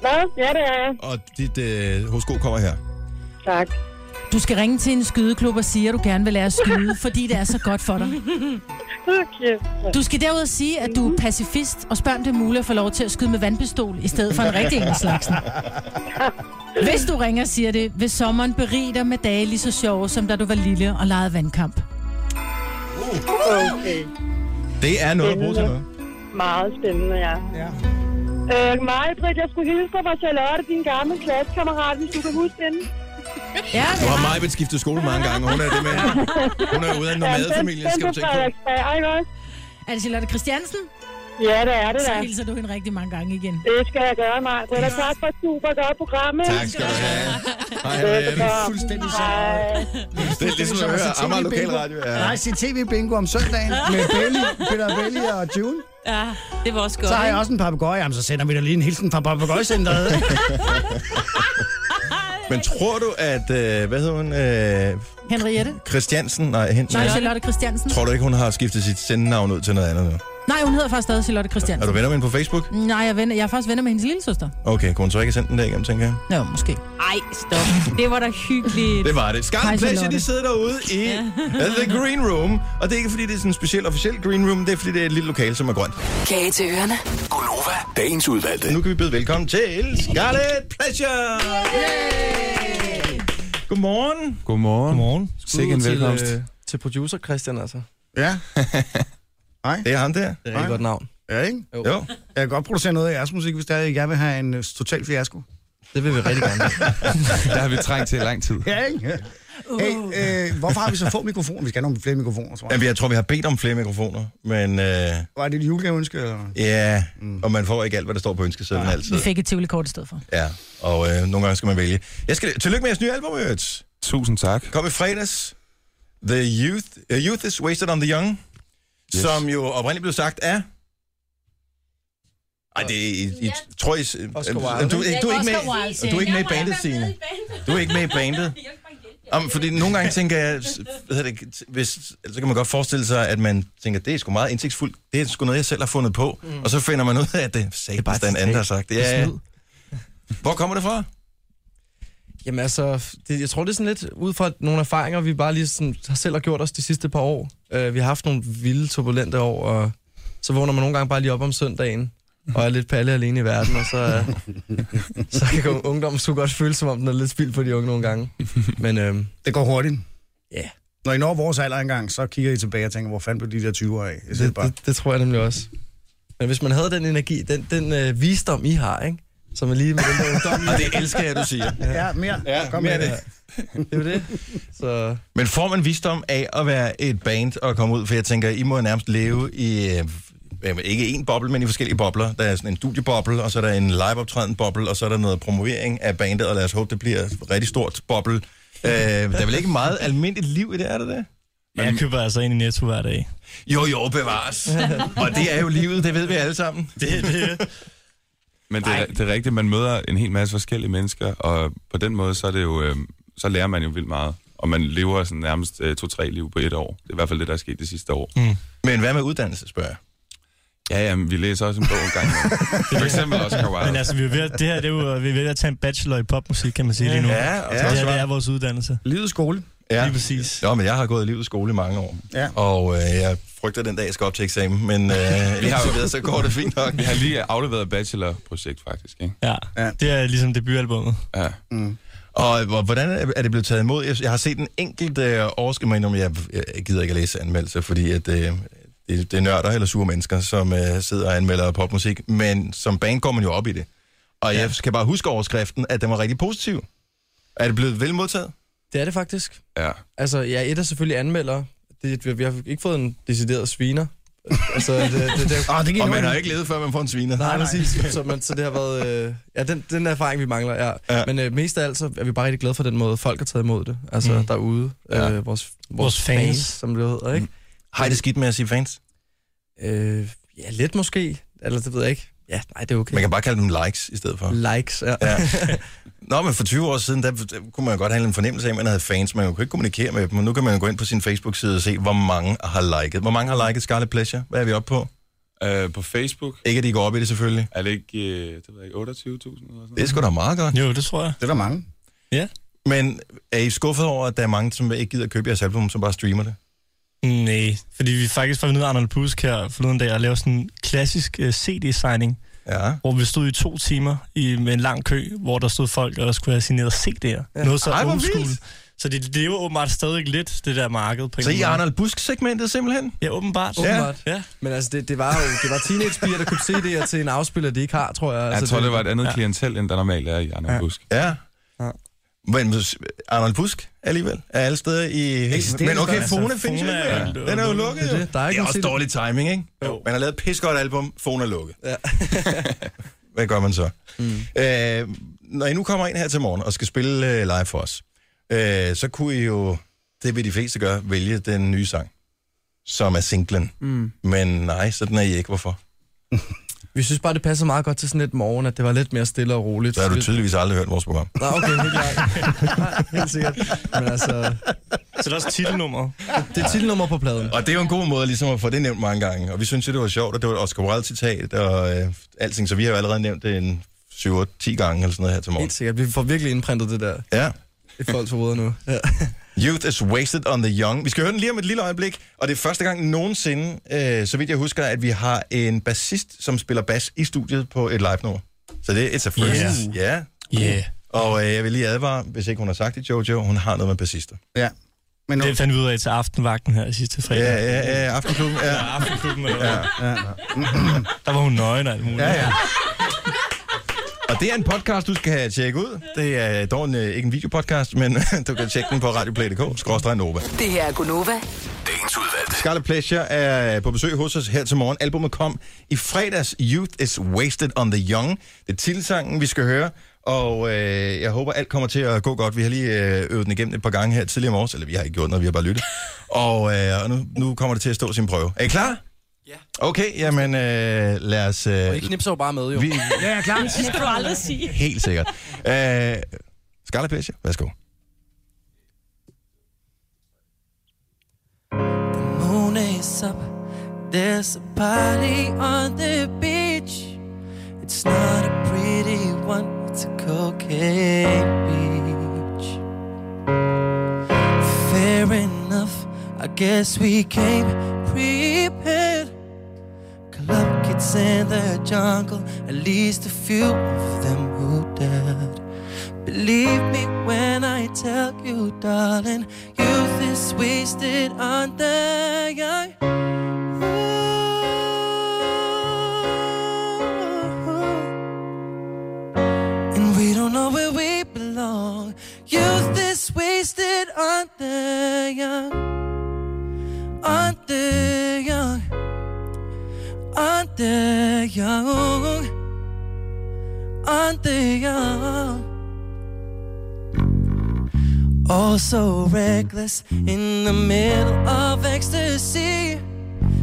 Hvad? Ja, det er jeg. Og dit øh, horoskop kommer her. Tak. Du skal ringe til en skydeklub og sige, at du gerne vil lære at skyde, fordi det er så godt for dig. Okay. Du skal derud sige, at du er pacifist, og spørg om det er muligt at få lov til at skyde med vandpistol, i stedet for en rigtig en slags. Hvis du ringer og siger det, vil sommeren berige dig med dage lige så sjove, som da du var lille og legede vandkamp. Okay. Det er noget at bruge til noget. Meget spændende, ja. Ja. Øh, Maj-Brit, jeg skulle hilse dig fra Charlotte, din gamle klassekammerat, hvis du kan huske hende. Ja, Du har meget skiftet skole mange gange, og hun er det med. Hun er ude af en nomadefamilie, skal du tænke på. Frederiksberg, ikke også? er det Charlotte Christiansen? Ja, det er det Så da. hilser du hende rigtig mange gange igen. Det skal jeg gøre, Maj-Brit. Og tak for et super godt program. ikke? Tak skal du have. Hej Henriette. Fuldstændig så. Hej. Det er ligesom at at se høre Amager TV bingo. Lokalradio. Ja. Nej, se tv-bingo om søndagen med Belly, Peter Belli og June. Ja, det var også godt. Så har jeg ikke? også en papegøje. Jamen, så sender vi da lige en hilsen fra papegøjecenteret. Men tror du, at... Øh, hvad hedder hun? Øh, Henriette? Christiansen? Nej, hende, Nej, nej. Charlotte Christiansen. Tror du ikke, hun har skiftet sit sendnavn ud til noget andet nu? Nej, hun hedder faktisk stadig Charlotte Er du Christiansen. venner med hende på Facebook? Nej, jeg, er venner, jeg er faktisk venner med hendes lille søster. Okay, kunne hun så ikke have sendt den der igennem, tænker jeg? Nå, måske. Ej, stop. Det var da hyggeligt. Det var det. Hej, Scarlet Pleasure, Charlotte. de sidder derude i The Green Room. Og det er ikke, fordi det er sådan en speciel officiel Green Room. Det er, fordi det er et lille lokale, som er grønt. Kage til ørerne. Gunova, dagens udvalgte. Nu kan vi byde velkommen til Scarlet Pleasure! Yay! Godmorgen. Godmorgen. Godmorgen. Sikke en velkomst. Til, øh, øh, til producer Christian, altså. Det ja, Det er ham der. er et rigtig godt navn. ja, ikke? Jo. Jeg kan godt producere noget af jeres musik, hvis der jeg vil have en øh, total fiasko. Det vil vi rigtig gerne. Der har vi trængt til i lang tid. Ja, ikke? Hey, øh, hvorfor har vi så få mikrofoner? Vi skal have nogle flere mikrofoner, tror jeg. Jamen, jeg tror, vi har bedt om flere mikrofoner, men øh, Var det et julegaveønske? Eller? ja, mm. og man får ikke alt, hvad der står på ønskesedlen altid. Vi fik et tivoli-kort i stedet for. Ja, og øh, nogle gange skal man vælge. Jeg skal, tillykke med jeres nye album, Ørts. Tusind tak. Kom i fredags. The Youth, uh, youth is Wasted on the Young, yes. Yes. som jo oprindeligt blev sagt af... Ej, det er... I, I, tror, I, s- Wilde. du, du, er ikke Oscar Wilde, med, siger du er jeg. ikke med i bandet, Signe. Du er ikke med i bandet. Om, fordi nogle gange tænker jeg, s- hvad hedder det, hvis, altså, så kan man godt forestille sig, at man tænker, det er sgu meget indsigtsfuldt, det er sgu noget, jeg selv har fundet på, mm. og så finder man ud af, at det, det er bare den anden, der har sagt det. Ja, ja. Hvor kommer det fra? Jamen altså, det, jeg tror, det er sådan lidt ud fra nogle erfaringer, vi bare lige sådan, har selv har gjort os de sidste par år. Uh, vi har haft nogle vilde, turbulente år, og så vågner man nogle gange bare lige op om søndagen, og er lidt palle alene i verden, og så, uh, så kan un- ungdommen sgu godt føle, som om den er lidt spild på de unge nogle gange. Men uh, Det går hurtigt. Når I når vores alder engang, så kigger I tilbage og tænker, hvor fanden blev de der 20 år af? Jeg siger Det, bare, det, det tror jeg nemlig også. Men hvis man havde den energi, den, den øh, visdom, I har, ikke? Som er lige med den der ungdom, Og det elsker jeg, du siger. ja, mere. Ja, Kom mere med af det. det er jo det. Så Men får man visdom af at være et band og komme ud? For jeg tænker, I må nærmest leve i, øh, øh, ikke en boble, men i forskellige bobler. Der er sådan en studieboble, og så er der en liveoptræden boble, og så er der noget promovering af bandet, og lad os håbe, det bliver et rigtig stort boble. Øh, der er vel ikke meget almindeligt liv i det, er det det? Jeg køber altså ind i Netto hver dag. Jo, jo, bevares. og det er jo livet, det ved vi alle sammen. Det, det. Men det, er- det er rigtigt, man møder en hel masse forskellige mennesker, og på den måde, så, er det jo, øh, så lærer man jo vildt meget. Og man lever sådan nærmest øh, to-tre liv på et år. Det er i hvert fald det, der er sket det sidste år. Mm. Men hvad med uddannelse, spørger jeg? Ja, ja, men vi læser også en bog en gang. imellem. For eksempel Oscar Wilde. Men altså, vi er ved, at- det her det er jo, øh, vi er ved at tage en bachelor i popmusik, kan man sige lige nu. Ja, og og det, her, det er vores uddannelse. Livets skole. Ja. Lige præcis. Jo, men jeg har gået i livets skole i mange år. Ja. Og øh, jeg frygter den dag, jeg skal op til eksamen, men øh, vi har jo været, så går det fint nok. Vi har lige afleveret et bachelorprojekt, faktisk. Ikke? Ja, Ja. det er ligesom debutalbummet. Ja. Og hvor- hvordan er- er det blevet taget imod? Jeg- Jeg har set en enkelt øh, overskrift, men jeg jeg gider ikke at læse anmeldelser, fordi at, øh, det, det er nørder eller sure mennesker, som øh, sidder og anmelder popmusik. Men som band går man jo op i det. Og ja. jeg kan bare huske overskriften, at den var rigtig positiv. Er det blevet vel modtaget? det er det faktisk. ja. Altså, ja, et er selvfølgelig anmelder. Det, vi, vi har ikke fået en decideret sviner. Altså, det, det, det, Ah, det gik og nu. man har ikke levet, før man får en sviner. Nej, nej, præcis. Så, man, så det har været... Øh, ja, den, den erfaring, vi mangler, ja. Ja. ja. Men øh, mest af alt, så er vi bare rigtig glade for den måde, folk har taget imod det. Altså Mm. mm. derude. Ja. Ja. Øh, vores, vores, Vores vores fans. fans, som det hedder, ikke? Har I det skidt med at sige fans? Mm. Øh, ja, lidt måske. Eller det ved jeg ikke. Ja, nej, det er okay. Man kan bare kalde dem likes i stedet for. Likes, ja. Ja. ja. Nå, men for 20 år siden, der, der kunne man jo godt have en fornemmelse af, at man havde fans. Man kunne ikke kommunikere med dem, og nu kan man jo gå ind på sin Facebook-side og se, hvor mange har liket. Hvor mange har liket Scarlet Pleasure? Hvad er vi oppe på? Øh, på Facebook Ikke, at de går op i det, selvfølgelig. er det ikke, øh, det ved jeg ikke 28.000 eller sådan noget. Det er sgu da meget godt. Jo, det tror jeg. Det er der mange. Men er I skuffet over, at der er mange, som ikke gider købe jeres album, som bare streamer det? Nej, fordi vi faktisk var nede af Arnold Pusk her forleden dag og lavede sådan en klassisk uh, CD-signing, Ja. hvor vi stod i to timer i, med en lang kø, hvor der stod folk og skulle have signeret CD'er. Ja. Noget så Ej, hvor old school. vildt. Så det lever åbenbart stadig lidt, det der marked. På en Så I eller er anden måde. Arnold Busk-segmentet simpelthen? Ja, åbenbart. Åbenbart. Ja. Men altså, det, det var jo det var teenagepiger, der købte CD'er til en afspiller, de ikke har, tror jeg. Jeg altså, tror, det var et andet klientel, end der normalt er i Arne ja. Busk. Ja. Ja. Men hvis- Arnold Busk alligevel er alle steder i... Eksisterer Men okay, altså. Fone findes jo ikke. Fona er- mere. Den er jo lukket. Det er jo. det. Der er det er ikke noget også til det. dårlig timing, ikke? Jo. Man har lavet et pissegodt album, Fone er lukket. Ja. Hvad gør man så? Mm. Øh, når I nu kommer ind her til morgen og skal spille øh, live for os, øh, så kunne I jo, det vil de fleste gøre, vælge den nye sang, som er singlen. Mm. Men nej, sådan er I ikke. Hvorfor? Vi synes bare, det passer meget godt til sådan et morgen, at det var lidt mere stille og roligt. Så har du Lidt- tydeligvis aldrig hørt vores program. Nå, okay, helt klart. Nej, helt sikkert. Men altså, Så det er også titelnummer. det er titelnummer på pladen. Og det er jo en god måde ligesom at få det nævnt mange gange. Og vi synes jo, det var sjovt, og det var et Oscar Wilde-citat og øh, alting. Så vi har jo allerede nævnt det en 7-10 gange eller sådan noget her til morgen. Helt sikkert. Vi får virkelig indprintet det der Ja. i folks hoveder nu. Ja. Youth is wasted on the young. Vi skal høre den lige om et lille øjeblik, og det er første gang nogensinde, øh, så vidt jeg husker, at vi har en bassist, som spiller bas i studiet på et live nummer. Så det er et first. Yeah. Ja. Yeah. Og øh, jeg vil lige advare, hvis ikke hun har sagt det, Jojo, hun har noget med bassister. Ja. Men nu, Det fandt vi ud af til aftenvagten her sidste fredag. Ja, ja, ja, aftenklubben. Ja. Ja, aftenklubben eller ja, ja. Der var hun nøgen og alt muligt. Ja, ja. Og det er en podcast, du skal tjekke ud. Det er dog en, øh, ikke en videopodcast, men du kan tjekke den på radioplay.dk, skråstrej Nova. Det her er Gunova. Dagens udvalgte. Scarlet Pleasure er på besøg hos os her til morgen. Albumet kom i fredags. Youth is wasted on the young. Det er titelsangen, vi skal høre. Og øh, jeg håber, alt kommer til at gå godt. Vi har lige øh, øvet den igennem et par gange her tidligere i morges. Eller vi har ikke gjort noget, vi har bare lyttet. Og, øh, og nu, nu kommer det til at stå sin prøve. Er I klar? Ja. Okay, jamen øh, lad os... Og Øh, I knipser jo bare med, jo. vi, ja, jeg er klar. Det skal du aldrig sige. helt sikkert. Øh, Scarlet Pleasure, værsgo. moon is up. There's a party on the beach. It's not a pretty one, it's a cocaine beach. Fair enough, I guess we came prepared. Club kids in the jungle, at least a few of them who died. Believe me when I tell you, darling, youth is is wasted on the young. And we don't know where we belong. Youth is wasted on the young. On the young. On the young. On the young. Oh, so reckless in the middle of ecstasy.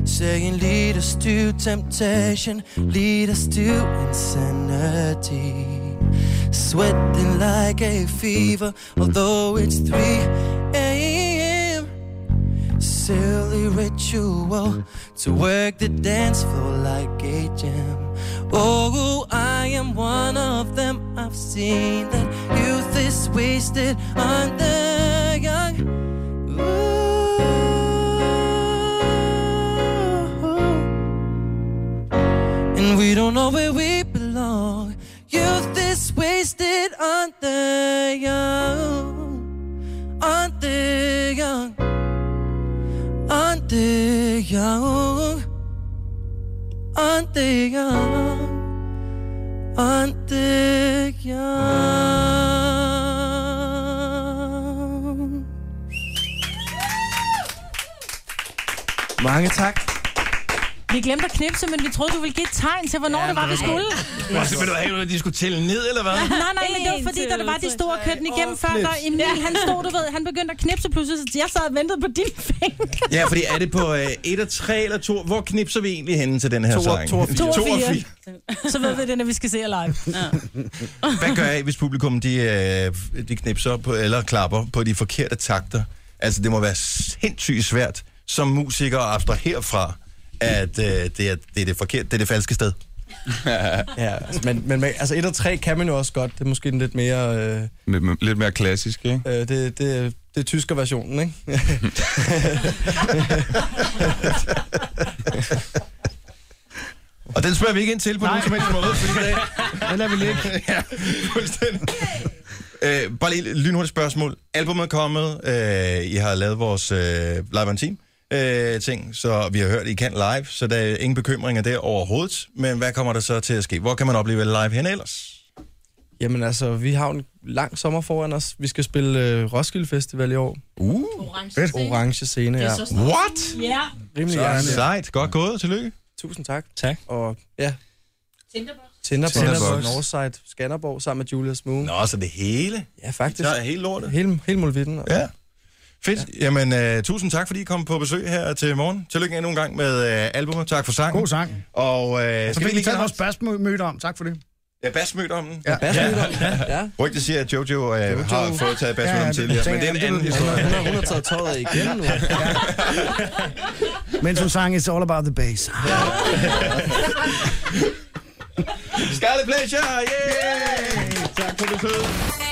Saying, lead us to temptation, lead us to insanity. Sweating like a fever, although it's 3 a.m. Silly ritual to work the dance floor like a gem. Oh, I am one of them. I've seen that youth is wasted on the young. And we don't know where we belong. Youth is wasted on the young. On the young. On the young. On the young. On the young. Mange tak. Vi glemte at knipse, men vi troede, du ville give et tegn til, hvornår ja, det var, vi skulle. Og så vil du have, at de skulle tælle ned, eller hvad? nej, nej, men det var fordi, da det var de store kørte den igennem før, der knips. Emil, han stod, du ved, han begyndte at knipse pludselig, så jeg sad og ventede på din finger. Ja, fordi er det på øh, 1 og 3 eller 2? Hvor knipser vi egentlig henne til den her To og- sang? to og fire. To og To og fire. fire. Så ved vi det, når vi skal se jer live. Ja. Hvad gør I, hvis publikum de, øh, de knipser på, eller klapper på de forkerte takter? Altså, det må være sindssygt svært som musiker at abstrahere fra, at øh, det, er, det er det forkerte, det er det falske sted. ja, altså, men, men man- altså 1 og 3 kan man jo også godt. Det er måske den lidt mere... Øh, Lidt, lidt mere klassisk, ikke? øh, det, det, det er tyskerversionen, ikke? Og den spørger vi ikke ind til på nogen som helst måde, fordi det, den lader vi ligge. ja, fuldstændig. Øh, bare lige et lynhurtigt spørgsmål. Albummet er kommet, øh, I har lavet vores øh, live on team øh, ting, så vi har hørt, I kan live, så der er ingen bekymringer der overhovedet. Men hvad kommer der så til at ske? Hvor kan man opleve live hen ellers? Jamen altså, vi har jo en lang sommer foran os. Vi skal spille øh, Roskilde Festival i år. Uh, orange scene. Orange scene, ja. Ja. Rimelig Sådan. gerne. Sejt. Godt gået. Tillykke. Tusind tak. Tak. Og ja, Tinderbox. Tinderbox, Tinderbox. Tinderbox. Northside, Skanderborg sammen med Julia Smule. Nå, så det hele? Ja, faktisk. Så er hele lortet? Hele, hele mulvitten. Ja. Fedt. Ja. Jamen, øh, tusind tak, fordi I kom på besøg her til morgen. Tillykke endnu en gang med øh, albumet. Tak for sangen. God sang. Og øh, Så skal vi fik vi lige taget tage vores basmøde om. Tak for det. Ja, basmødommen. Ja. basmødommen. Ja. ja. Rygte siger, at Jojo, øh, Jojo. har fået taget basmødommen Ja, ja, det tidligere, men tænker det er en anden jeg, det ved vi. historie. Hun har- hun har taget tøjet igen nu. Mens hun sang It's All About The Bass. Scarlet Pleasure, yeah! Tak for besøget.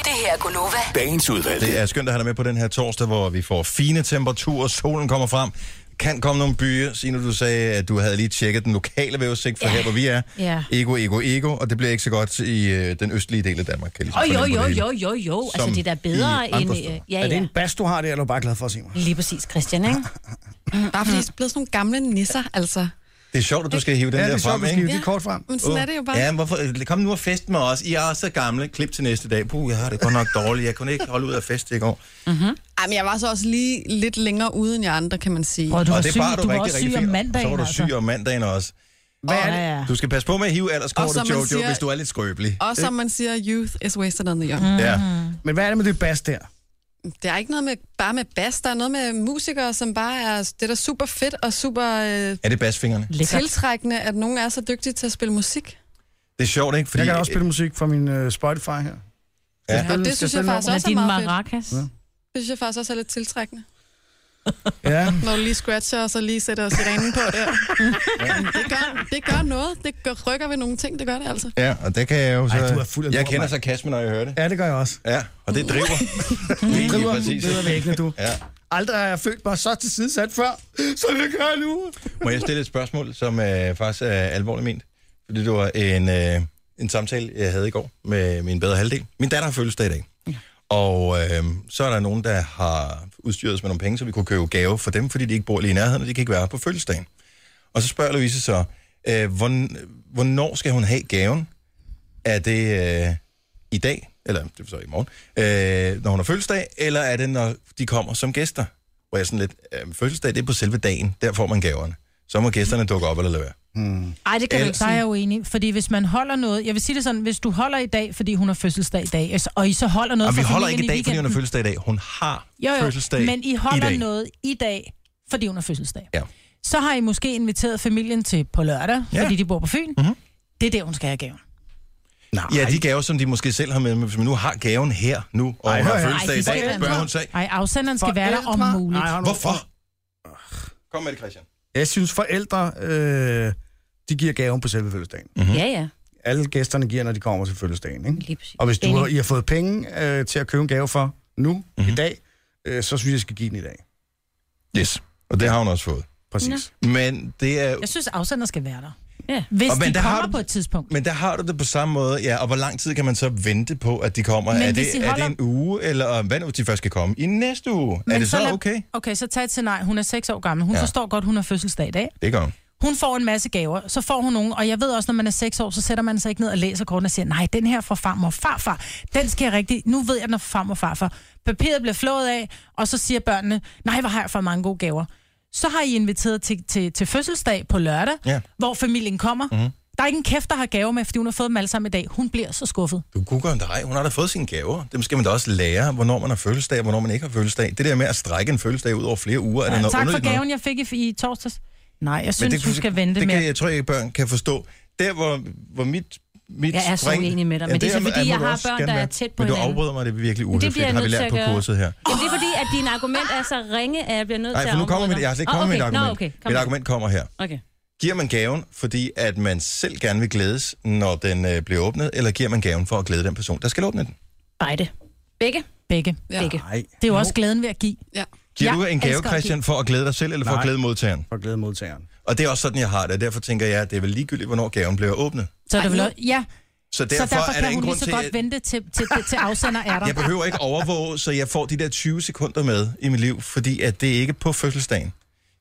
Det her er Gunova. Dagens udvalg. Det er skønt at have dig med på den her torsdag, hvor vi får fine temperaturer, solen kommer frem. Kan komme nogle byer. Signe, du sagde, at du havde lige tjekket den lokale vævesigt for ja. her, hvor vi er. Ja. Ego, ego, ego, og det bliver ikke så godt i øh, den østlige del af Danmark. Kan jeg ligesom Og jo, fornemme på jo, det hele. jo, jo, jo. Altså, Som det er da i bedre andre end... øh, steder. Ja, Er det ja. en bas, du har det, eller er du bare glad for at se mig? Lige præcis, Christian, ikke? Bare fordi I er blevet sådan nogle gamle nisser, altså. Det er sjovt, at du skal hive den Ja, det der er sjovt, frem, vi skal ikke? hive det kort frem. Men sådan er det jo bare. Ja, men hvorfor? Kom nu og fest med os. I er også så gamle. Klip til næste dag. Puh, jeg har det godt nok dårligt. Jeg kunne ikke holde ud af fest i går. Mm-hmm. Ej, men jeg var så også lige lidt længere ude end jer andre, kan man sige. Og det bar du rigtig, rigtig fint. Så var du syg altså. om mandagen også. Hvad er det? Ja, ja. Du skal passe på med at hive Og alderskortet, som man Jojo, siger- hvis du er lidt skrøbelig. Og som man siger, youth is wasted on the young. Ja. Men hvad er det med det bas der? Det er ikke noget med bare med bas, der er noget med musikere, som bare er det der er super fedt og super øh, Er det basfingrene? tiltrækkende, at nogen er så dygtige til at spille musik. Det er sjovt, ikke? Fordi, jeg kan også spille musik fra min uh, Spotify her. Ja. Skal jeg spille- Og det skal synes jeg jeg spille faktisk nummer? også er Din meget fedt. maracas. Ja. Det synes jeg faktisk også er lidt tiltrækkende. Ja. Når du lige scratcher, og så lige sætter sirenen på der. Det gør, det gør noget. Det gør, rykker ved nogle ting, det gør det altså. Ja, og det kan jeg jo så... Ej, du er fuld af jeg lort, kender mand. så Kasme, når jeg hører det. Ja, det gør jeg også. Ja, og det driver. Du driver præcis. bedre væggene, du. Ja. Aldrig har jeg følt mig så tilsidesat før, som jeg gør nu. Må jeg stille et spørgsmål, som øh, faktisk er alvorligt ment? Fordi det var en, øh, en samtale, jeg havde i går med min bedre halvdel. Min datter har fødselsdag i dag. Ja. Og øh, så er der nogen, der har udstyret os med nogle penge, så vi kunne købe gave for dem, fordi de ikke bor lige i nærheden, og de kan ikke være her på fødselsdagen. Og så spørger Louise så, øh, hvorn- hvornår skal hun have gaven? Er det øh, i dag, eller det er så i morgen, øh, når hun har fødselsdag, eller er det, når de kommer som gæster? Hvor jeg er sådan lidt, øh, fødselsdag, det er på selve dagen, der får man gaverne. Så må gæsterne dukke op eller lade være. Hmm. Ej, det kan du ikke Der er sige. jeg uenig, fordi hvis man holder noget... Jeg vil sige det sådan, hvis du holder i dag, fordi hun har fødselsdag i dag, altså, og I så holder noget Og vi for holder familien ikke i dag, fordi hun har weekenden- fødselsdag i dag. Hun har jo, jo, fødselsdag men I i holder dag. noget i dag, fordi hun har fødselsdag. Ja. Så har I måske inviteret familien til på lørdag, Ja. Mhm. ja. fordi de bor på Fyn. Mm-hmm. Det er der, hun skal have gaven. Nej. Ja, de gaver, som de måske selv har med, men hvis man nu har gaven her nu, og Ej, har fødselsdag i dag, bør hun sige, Ej, afsenderen skal være der om Forældre? muligt. Nej, hold nu. hvorfor? Kom med det, Christian. Jeg synes, forældre, øh, de giver gaven på selve fødselsdagen. Mhm. Mm-hmm. Ja, ja. Alle gæsterne giver, når de kommer til fødselsdagen. Ikke? Lige præcis. Og hvis du Enig. har, I har fået penge øh, til at købe en gave for nu, mm-hmm. i dag, øh, så synes jeg, I skal give den i dag. Yes, og det har hun også fået. Præcis. Men det er... Jeg synes, afsender skal være der. Ja. Hvis Og men de der kommer har har... du- på et tidspunkt. Men der har du det på samme måde, ja. Og hvor lang tid kan man så vente på, at de kommer? Men er, hvis det, de er det holder- en uge, eller hvad nu, hvis de først skal komme? I næste uge? Men er det så, lad- okay? Okay, så tag et scenarie. Hun er 6 år gammel. Hun Ja. ja. forstår godt, hun har fødselsdag i dag. Det gør hun. Hun får en masse gaver, så får hun nogen, og jeg ved også, når man er 6 år, så sætter man sig ikke ned og læser kortene og siger, nej, den her fra farmor og farfar, den skal jeg rigtig, nu ved jeg, den er fra farmor og farfar. Papiret bliver flået af, og så siger børnene, nej, hvor har jeg for mange gode gaver. Så har I inviteret til, til, til fødselsdag på lørdag, Ja. Mhm. hvor familien kommer. Mm. Der er ikke en kæft, der har gaver med, fordi hun har fået dem alle sammen i dag. Hun bliver så skuffet. Du googler dig. Hun har da fået sine gaver. Dem skal man da også lære, hvornår man har fødselsdag, og hvornår man ikke har fødselsdag. Det der med at strække en fødselsdag ud over flere uger, ja, er det Ja, noget tak for underligt noget? gaven, jeg fik i, i torsdags. Nej, jeg synes, det du skal vente det med Kan, jeg tror ikke, børn kan forstå. Der, hvor, hvor mit, mit Jeg er så spring- uenig med dig, men det er så, der fordi må jeg du har også børn, gerne der være. er tæt på Men du hinanden. afbryder mig, det er virkelig Men det uhøfligt. bliver jeg Har vi nødt til lært at på gøre. kurset her. Jamen, det er fordi, at dine argument er så ringe, at jeg bliver nødt Nej, til for nu at kommer mit, afbryde jeg har slet ikke dig. kommet med et Åh, okay. argument. Nå, okay. Kom mit med. argument kommer her. Okay. Giver man gaven, fordi at man selv gerne vil glædes, når den øh, bliver åbnet, eller giver man gaven for at glæde den person, der skal åbne den? Beide. Begge? Begge. Ja. Begge. Nej. Det er jo også glæden ved at give. Ja. Giver Jeg du en gave, elsker at Christian, give. for at glæde dig selv, eller for at Nej. glæde modtageren? For at glæde modtageren. Og det er også sådan, jeg har det. og Derfor tænker jeg, at det er vel ligegyldigt, hvornår gaven bliver åbnet. Så er det vel også, ja, Så derfor, så derfor er der kan ingen hun lige grund så til, godt at- vente til, til, til, til afsender er der. Jeg behøver ikke overvåge, så jeg får de der 20 sekunder med i mit liv, fordi at det ikke er på fødselsdagen.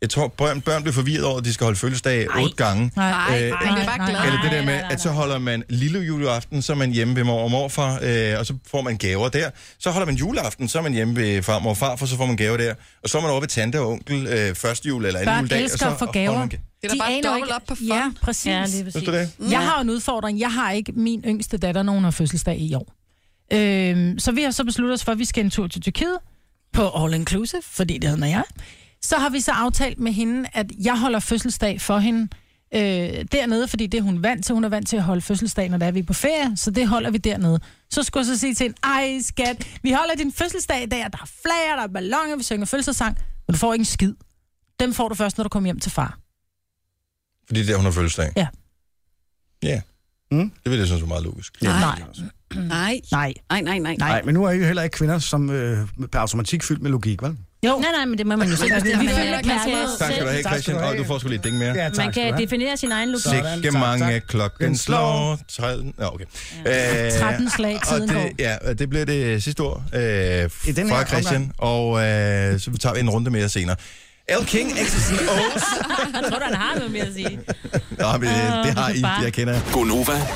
Jeg tror, børn, børn bliver forvirret over, at de skal holde fødselsdag otte gange. Nej, nej, Øh, nej, eller- nej, nej, nej. Eller det der med, at så holder man lille juleaften, så er man hjemme ved mor og morfar, øh, og så får man gaver der. Så holder man juleaften, så er man hjemme ved farmor og farfar, så får man gaver der. Og så er man over ved tante og onkel øh, første jul eller anden Børn juledag. elsker og så at få holder gaver. man ga- Det er da bare aner dobbelt ikke- op på fond. Ja, præcis. Ja, lige Synes du det? Mm. Jeg har jo en udfordring. Jeg har ikke min yngste datter, når hun har fødselsdag i år. Øhm, så vi har så besluttet os for, at vi skal en tur til Tyrkiet på All Inclusive, fordi det hedder jeg. Så har vi så aftalt med hende, at jeg holder fødselsdag for hende øh, dernede, fordi det er hun vant til. Hun er vant til at holde fødselsdag, når der er vi er på ferie, så det holder vi dernede. Så skulle jeg så sige til hende, ej skat, vi holder din fødselsdag i dag, og der er flager, der er balloner, vi synger fødselsdagssang, men du får ikke en skid. Dem får du først, når du kommer hjem til far. Fordi det er der, hun har fødselsdag. Ja. Ja. Mm. Det vil jeg synes er meget logisk. Nej. Mm. Nej. Nej. Nej, nej, nej. Nej, men nu er I jo heller ikke kvinder, som øh, per automatik fyldt med logik, vel? Jo. Nej, nej, men det må man jo selv. det er Vi man følger heller ikke. Man skal kærlighed Tak skal du have, selv. Christian. Og du får sgu lige et ding mere. Ja, tak Man skal du kan have. definere sin egen logik. Sådan, Sikke tak, mange tak. klokken Den slår. slår. 13, ja, okay. Øh, 13 slag, og tiden går. det, ja, og det bliver det sidste ord øh, I den her fra Christian, og øh, så tager vi en runde mere senere. L. King, Exes and O's. Jeg tror, du, han har noget mere at sige. Nå, men, Ah, øh, det har I, det jeg kender. Gonova.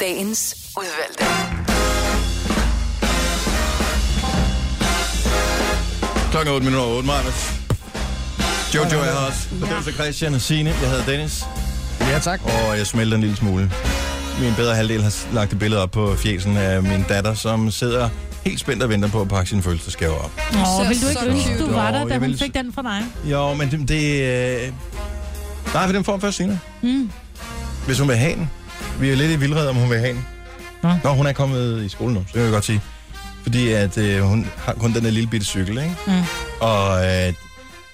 Dagens udvalgte. Klokken 8 minutter over 8, Marmets. Jojo er her også. Og det var så Christian og Signe. Jeg hedder Dennis. Ja, tak. Og jeg smelter en lille smule. Min bedre halvdel har lagt et billede op på fjesen af min datter, som sidder helt spændt og venter på at pakke sin fødselsdagsgave op. Åh, ser vil du så ikke ønske, cute du ud. var Nå, der, da jeg hun ville- fik den fra dig? Jo, men det... det øh... Nej, for den får hun først senere. Mm. Hvis hun vil have den. Vi er lidt i vildrede, om hun vil have den. Nå. Nå, hun er kommet i skolen nu, så kan jeg godt sige. Fordi at øh, hun har kun den der lille bitte cykel, ikke? Mm. Og øh,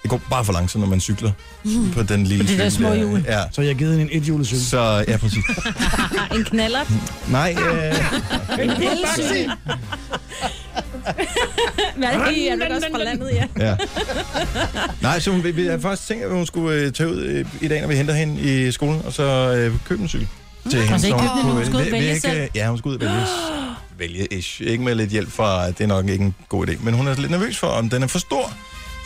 det går bare for langsomt, når man cykler på den lille Mm. På de der cykel små hjul. Ja, Så jeg har givet hende en ethjulet cykel. så ja, præcis. "Ah, En knaller. Nej, øh, Men er det ikke, er du ikke også fra landet, ja? ja. Nej, så hun, vi, vi har faktisk tænkt, at hun skulle øh, tage ud øh, i dag, når vi henter hende i skolen, og så øh, købe en cykel. Til hende, Altså ikke så købe den, hun kunne- skal ud vil- og vælge vil ikke, selv? øh, Ja, hun skulle ud og vælge vælge ish. Ikke med lidt hjælp fra, det er nok ikke en god idé. Men hun er lidt nervøs for, om den er for stor.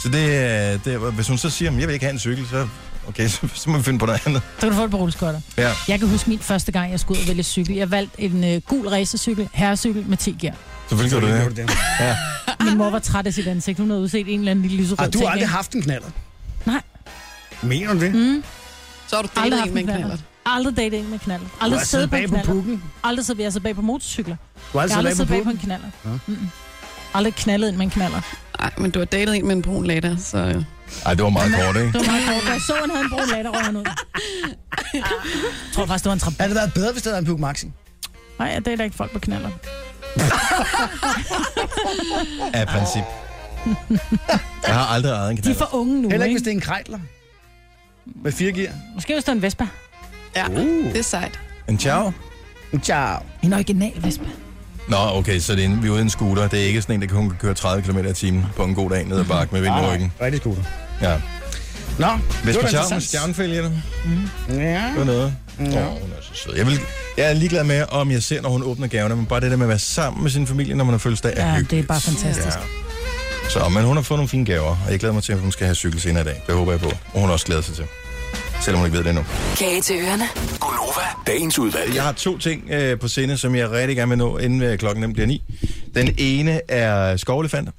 Så det, er- det er, hvis hun så siger, at jeg vil ikke have en cykel, så, okay, så, så må vi finde på noget andet. Så kan du få et par rulleskotter. Ja. Jeg kan huske min første gang, jeg skulle ud og vælge cykel. Jeg valgte en øh, gul racercykel, herrecykel med 10 gear. Selvfølgelig gjorde du det. Ja. Min mor var træt af sit ansigt. Hun havde udset en eller anden lille lyserød Har Ah, du ting, aldrig ikke? haft en knaller? Nej. Mener du det? Mm. Så har du Aldrig datet haft en med en en knaller. knallert. Aldrig datet en med knaller. har Aldrig siddet siddet på bag en på knaller. pukken. Aldrig siddet, jeg sidder bag på motorcykler. Du har aldrig jeg har aldrig siddet siddet bag bag på på en knaller. Ja. Mm-mm. Aldrig knaldet en med en knaller. Nej, men du har datet en med en brun latter, så... Ej, det var meget kort, ikke? Det var meget kort. Jeg så, han havde en brun latter over ud. Jeg tror faktisk, det var en trabat. Havde det været bedre, hvis det havde været en Puk Maxi? Nej, jeg dater ikke folk på knaller. Af princip. Jeg har aldrig ejet en De knald. er for unge nu, Heller ikke, ikke? hvis det er en krejtler. Med fire gear. Måske hvis det er en Vespa. Ja, Uh. det er sejt. En ciao? Ciao. En original Vespa. Nå, okay, så det er en, vi er ude i en scooter. Det er ikke sådan en, der kun kan køre 30 km i timen på en god dag ned ad bakke med vind i Mhm. Nej, ryggen. Rigtig scooter. Ja. Nå, Hvis man det var da tager en interessant. Mhm. stjernefælge, det Ja. var noget. Åh, hun er så sød. Jeg, vil, jeg er ligeglad med, om jeg ser, når hun åbner gaverne, men bare det der med at være sammen med sin familie, når man har fødselsdag, er Ja, hyggeligt. det er bare fantastisk. Ja. Så, men hun har fået nogle fine gaver, og jeg glæder mig til, at hun skal have cykel senere i dag. Det håber jeg på. Og hun også glæder sig til. Selvom hun ikke ved det endnu. Kage til ørerne. Gunova, dagens udvalgte. Jeg har to ting øh, på sinde, som jeg rigtig gerne vil nå, inden øh, klokken den bliver ni. Den ene er skovelefanter,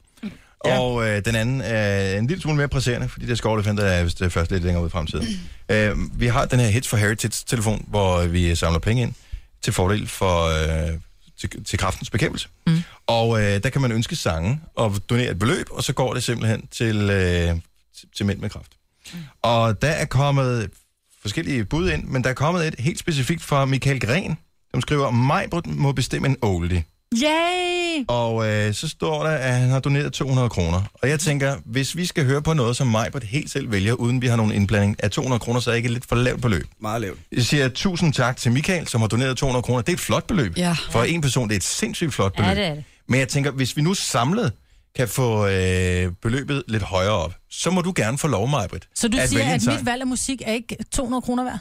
ja. og øh, den anden er en lille smule mere presserende, fordi der skovelefanter er vist øh, først lidt længere ud i fremtiden. øh, vi har den her Hits for Heritage-telefon, hvor øh, vi samler penge ind til fordel for øh, til, til kraftens bekæmpelse. Mm. Og øh, der kan man ønske sange og donere et beløb, og så går det simpelthen til, øh, til, til mænd med kraft. Og der er kommet forskellige bud ind, men der er kommet et helt specifikt fra Michael Gren, som skriver, Majbrut må bestemme en oldie. Yay! Og øh, så står der, at han har doneret 200 kroner. Og jeg tænker, hvis vi skal høre på noget, som Majbrut helt selv vælger, uden vi har nogen indblanding, er 200 kroner så ikke et lidt for lavt beløb? Meget lavt. Jeg siger tusind tak til Michael, som har doneret 200 kroner. Det er et flot beløb. Ja. For en person, det er et sindssygt flot beløb. Ja, det er det. Men jeg tænker, hvis vi nu samlet kan få øh, beløbet lidt højere op, så må du gerne få lov, Majbrit. Så du siger, vælge en at sang. mit valg af musik er ikke 200 kroner værd?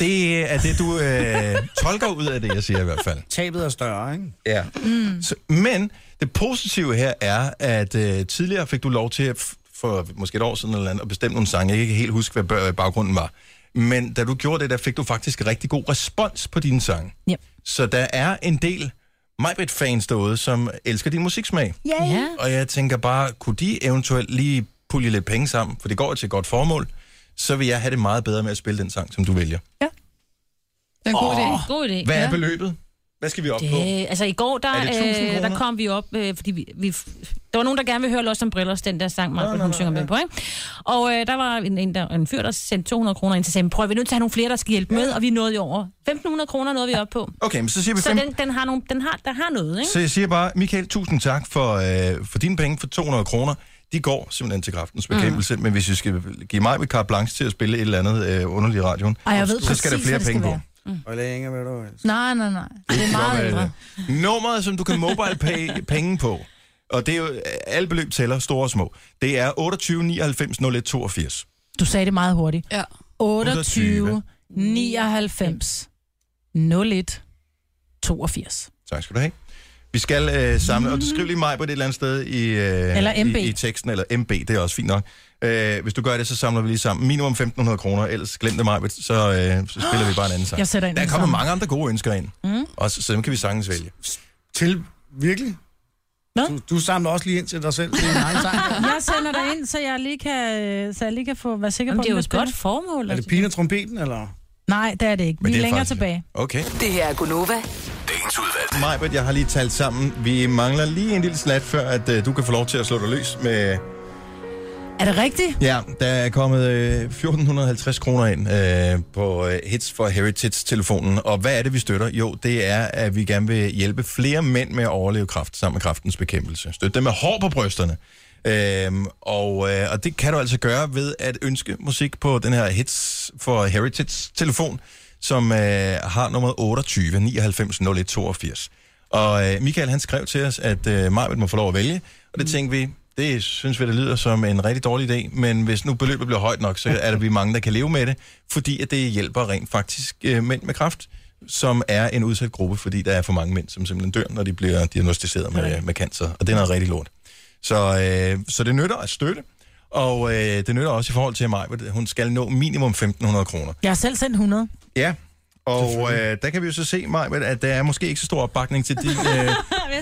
Det er det, du øh, tolker ud af det, jeg siger i hvert fald. Tabet er større, ikke? Ja. Mm. Så, men det positive her er, at øh, tidligere fik du lov til at f- for måske et år siden eller andet, at bestemme nogle sange. Jeg kan ikke helt huske, hvad bør- baggrunden var. Men da du gjorde det, der fik du faktisk rigtig god respons på dine sange. Ja. Så der er en del Majbrit-fans derude, som elsker din musiksmag. Yay! Ja. Og jeg tænker bare, kunne de eventuelt lige pulje lidt penge sammen, for det går jo til et godt formål, så vil jeg have det meget bedre med at spille den sang, som du vælger. Det er en god idé. God idé. Hvad er Ja. beløbet? Hvad skal vi op på? Det, altså i går, der, Er det 1000 øh, kroner? der kom vi op, øh, fordi vi, vi, der var nogen, der gerne ville høre Lost Umbrellas, den der sang, Margot, hun synger med på, ikke? Og øh, der var en, en, der, en fyr, der sendte 200 kroner ind til sagde, prøv, vi er nødt til at have nogle flere, der skal hjælpe med, og vi nåede jo over. 1500 kroner nåede vi op på. Okay, men så siger vi Så fem... den, den har nogle, den har, der har noget, ikke? Så jeg siger bare, Michael, tusind tak for, øh, for dine penge for 200 kroner. De går simpelthen til kraftens bekæmpelse, mm. men hvis vi skal give mig med carte blanche til at spille et eller andet øh, underligt i radioen, Ej, jeg ved så skal der præcis, flere hvad det penge skal på. være. Og længere med dig. Nej, nej, nej. Det er meget ældre. øh, Nummeret, som du kan mobile pay penge på, og det er jo, øh, alle beløb tæller, store og små, det er 28 99 01 82. Du sagde det meget hurtigt. Ja. 28, 99, 01, 82. Tak skal du have. Vi skal øh, samle, og du skriver lige mig på et eller andet sted i, øh, Eller MB. i, i teksten, eller MB, det er også fint nok. Øh, hvis du gør det, så samler vi lige sammen minimum 1.500 kroner, ellers glem det mig, så, øh, så spiller vi bare en anden sang. Jeg sætter ind Der er med kommet sammen. mange andre gode ønsker ind, mm. og så, så dem kan vi sagtens vælge. Til virkelig? Hvad? Du, du samler også lige ind til dig selv. Det er en egen sang. Jeg sender dig ind, så jeg lige kan, så jeg lige kan få, være sikker Jamen, på, det er jo den et bliver godt formål. altså. Er det pigen og trompeten, eller? spillet. Nej, det er det ikke. Vi Men det er er længere faktisk- tilbage. Okay. Det her er Gunova. Majbert, jeg har lige talt sammen. Vi mangler lige en lille slat, før at, øh, du kan få lov til at slå dig løs med... Er det rigtigt? Ja, der er kommet øh, 1450 kroner ind øh, på øh, Hits for Heritage-telefonen. Og hvad er det, vi støtter? Jo, det er, at vi gerne vil hjælpe flere mænd med at overleve kræft sammen med kræftens bekæmpelse. Støtte dem med hår på brysterne. Øhm, og, øh, og det kan du altså gøre ved at ønske musik på den her Hits for Heritage-telefon, som øh, har nummer 28 99 01 82. Og øh, Michael han skrev til os, at øh, Marvind må få lov at vælge, og det tænkte vi, det synes vi, det lyder som en rigtig dårlig idé, men hvis nu beløbet bliver højt nok, så er der vi mange, der kan leve med det, fordi at det hjælper rent faktisk øh, mænd med kraft, som er en udsat gruppe, fordi der er for mange mænd, som simpelthen dør, når de bliver diagnostiseret med, med cancer. Og det er noget rigtig lort. Så, øh, så det nytter at støtte, og øh, det nytter også i forhold til mig, hvor hun skal nå minimum 1.500 kroner. Jeg har selv sendt 100. Ja, og øh, der kan vi jo så se, Maja, at der er måske ikke så stor opbakning til din, øh,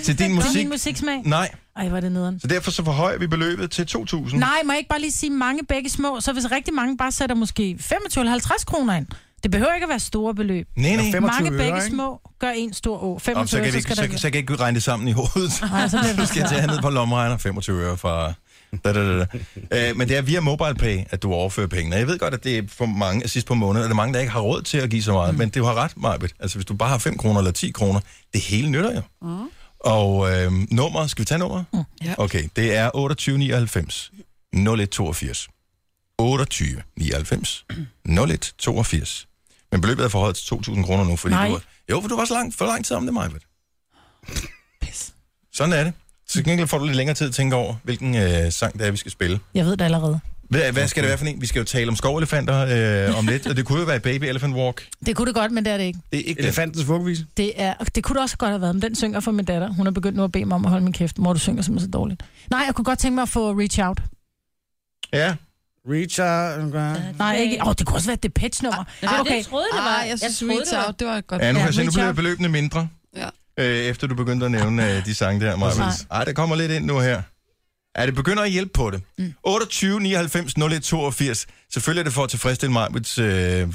til din Til musik. min musiksmag? Nej, Ej, var det nederen. så derfor så forhøjer vi beløbet til 2.000. Nej, må jeg ikke bare lige sige mange begge små? Så hvis rigtig mange bare sætter måske 25 eller 50 kroner ind. Det behøver ikke at være store beløb. Nej, nej. Mange 25 øre, begge ikke? små gør en stor å. Om, 25 så, øre, kan vi, så ikke, skal så, der så, kan jeg ikke regne det sammen i hovedet. Nej, så bliver det du skal svært. tage ned på lommeregner 25 øre fra... Da, da, da, da. Øh, men det er via MobilePay, at du overfører pengene. Jeg ved godt, at det er for mange at sidst på måneden, og der er mange, der ikke har råd til at give så meget. Mm. Men det har ret, Marbet. Altså, hvis du bare har 5 kroner eller 10 kroner, det hele nytter jo. Mm. Og øh, nummer, skal vi tage nummer? Mm. Okay, det er 2899 0182. 2899 0182. Men beløbet er forhøjet til 2.000 kroner nu, fordi Nej. du... Jo, for du var så lang, for lang tid om det, Majbet. Sådan er det. Til gengæld får du lidt længere tid at tænke over, hvilken øh, sang det er, vi skal spille. Jeg ved det allerede. Hvad, hvad skal det være for en? Vi skal jo tale om skovelefanter øh, om lidt, og det kunne jo være Baby Elephant Walk. Det kunne det godt, men det er det ikke. Det er ikke Elefantens vuggevis. Det, er, og det kunne det også godt have været, men den synger for min datter. Hun har begyndt nu at bede mig om at holde min kæft. Mor, du synger simpelthen så dårligt. Nej, jeg kunne godt tænke mig at få Reach Out. Ja. Richard. Nej, Ah, ikke. Åh, det kunne også være et Depeche-nummer. nej, det troede det var. Ah, Jeg synes, troede, Reach Out, det var et godt Ja, nu, kan Ja, jeg se, nu Reach bliver Out. beløbene mindre, Ja. øh, efter du begyndte at nævne øh, de sange der, Nej. Marvins. Ej, der kommer lidt ind nu her. Ja, det begynder at hjælpe på det. Mm. 28, 99, 01, 82. Selvfølgelig er det for at tilfredsstille Marvins øh,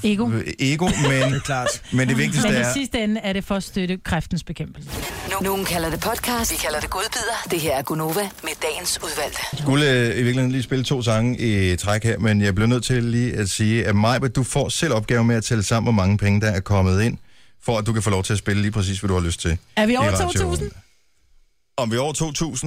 Ego. ego men, det men det vigtigste Men er... i sidste ende er det for at støtte kræftens bekæmpelse. Nogen kalder det podcast, vi kalder det godbider. Det her er Gunova med dagens udvalgte. skulle øh, i virkeligheden lige spille to sange i træk her, men jeg blev nødt til lige at sige, at Maja, du får selv opgave med at tælle sammen, hvor mange penge, der er kommet ind, for at du kan få lov til at spille lige præcis, hvad du har lyst til. Er vi i over radioen. 2.000? Om vi er over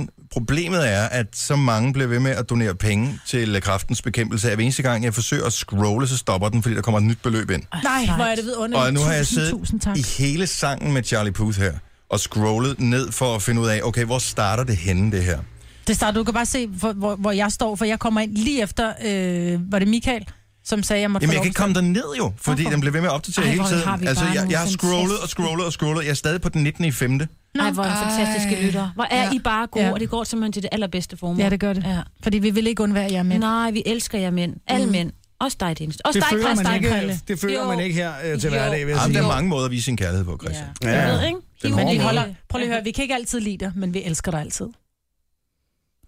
2.000. Problemet er, at så mange bliver ved med at donere penge til kraftens bekæmpelse. At hver eneste gang, jeg forsøger at scrolle, så stopper den, fordi der kommer et nyt beløb ind. Nej, hvor er det vidunderligt. Og nu har jeg Tusind, siddet Tusind tak. i hele sangen med Charlie Puth her, og scrollet ned for at finde ud af, okay, hvor starter det henne, det her? Det starter, du kan bare se, hvor, hvor, hvor jeg står, for jeg kommer ind lige efter, øh, var det Michael, som sagde, jeg måtte Jamen, få jeg lov kan ikke komme derned jo, fordi Hvorfor? den bliver ved med at opdatere Ej, hele hvor tiden. har vi Altså, bare jeg, nogle jeg har scrollet og fantastiske- scrollet og scrollet. Jeg er stadig på den 19. i 5. Nej, hvor er I fantastiske lytter. Hvor er Ja. ja. I bare gode, Ja. ja. og det går simpelthen til det allerbedste formål. Ja, det gør det. Ja. Fordi vi vil ikke undvære jer mænd. Nej, vi elsker jer mænd. Alle mm. mænd. Også dig, Dennis. Også Det dig, føler, Christian. man ikke, det føler man ikke her øh, til Jo. hverdag, vil jeg Jamen, sige. der er mange måder at vise sin kærlighed på, Christian. Ja. Ja. Jeg ved, ikke? Den Men vi hårde holder, måde. prøv lige at høre, vi kan ikke altid lide dig, men vi elsker dig altid.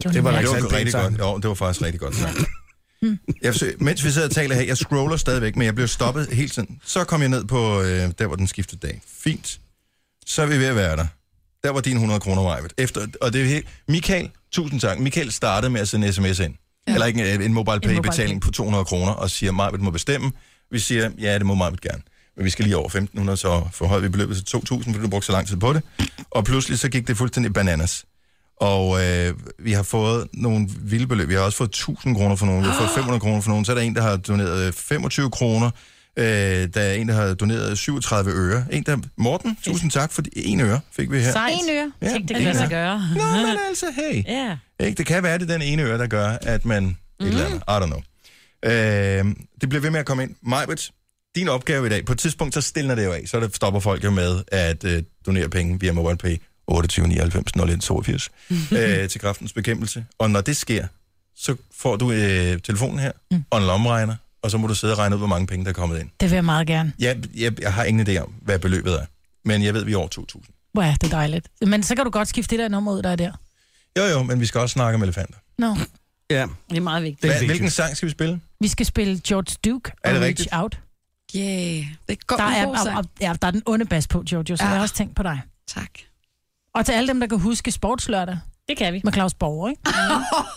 Det var, det ikke var, særlig rigtig pænt godt. Jo, det var faktisk rigtig godt. sagt. Jeg, forsøger- mens vi sidder og taler her, jeg scroller stadigvæk, men jeg blev stoppet hele tiden. Så kom jeg ned på øh, der, hvor den skiftede dag. Fint. Så er vi ved at være der. Der var dine 100 kroner vejvet. Efter, og det er helt... Michael, tusind tak. Michael startede med at sende sms ind. Ja. Eller ikke øh, en, en mobile pay betaling på 200 kroner, og siger, Marvitt må bestemme. Vi siger, ja, det må Marvitt gerne. Men vi skal lige over 1.500, så forhøjer vi beløbet til 2.000, fordi du brugte så lang tid på det. Og pludselig så gik det fuldstændig bananas. Og øh, vi har fået nogle vilde beløb. Vi har også fået 1000 kroner for nogen. Vi har fået 500 kroner for nogen. Så er der en, der har doneret øh, 25 kroner. Øh, der er en, der har doneret 37 øre. En, der... Morten, tusind tak for de- en øre fik vi her. En øre. Ja, Tænk, det en kan lade sig øre. gøre. Nå, men altså, hey. Ja. Ikke? Det kan være, at det er den ene øre, der gør, at man... Mm. Mhm. Et eller andet. I don't know. Øh, det bliver ved med at komme ind. Majbet, din opgave i dag, på et tidspunkt, så stiller det jo af. Så det stopper folk jo med at øh, donere penge via MobilePay 28 99 01 82 øh, til kraftens bekæmpelse. Og når det sker, så får du øh, telefonen her mm. og en lommeregner, og så må du sidde og regne ud, hvor mange penge, der er kommet ind. Det vil jeg meget gerne. Jeg, jeg, jeg har ingen idé om, hvad beløbet er, men jeg ved, vi er over 2.000. Hvor er det dejligt. Men så kan du godt skifte det der nummer ud, der er der. Jo, jo, men vi skal også snakke om elefanter. Nå, Ja. Det er meget vigtigt. Hvad, hvilken sang skal vi spille? vi skal spille George Duke og Er det Reach rigtigt? Out. Yeah, det går Der er, en god sang. og, og, ja, der er den onde bas på, Jojo, så Ja. jeg har også tænkt på dig. Tak. Og til alle dem, der kan huske Sportslørdag Det kan vi. med Claus Borger, ikke?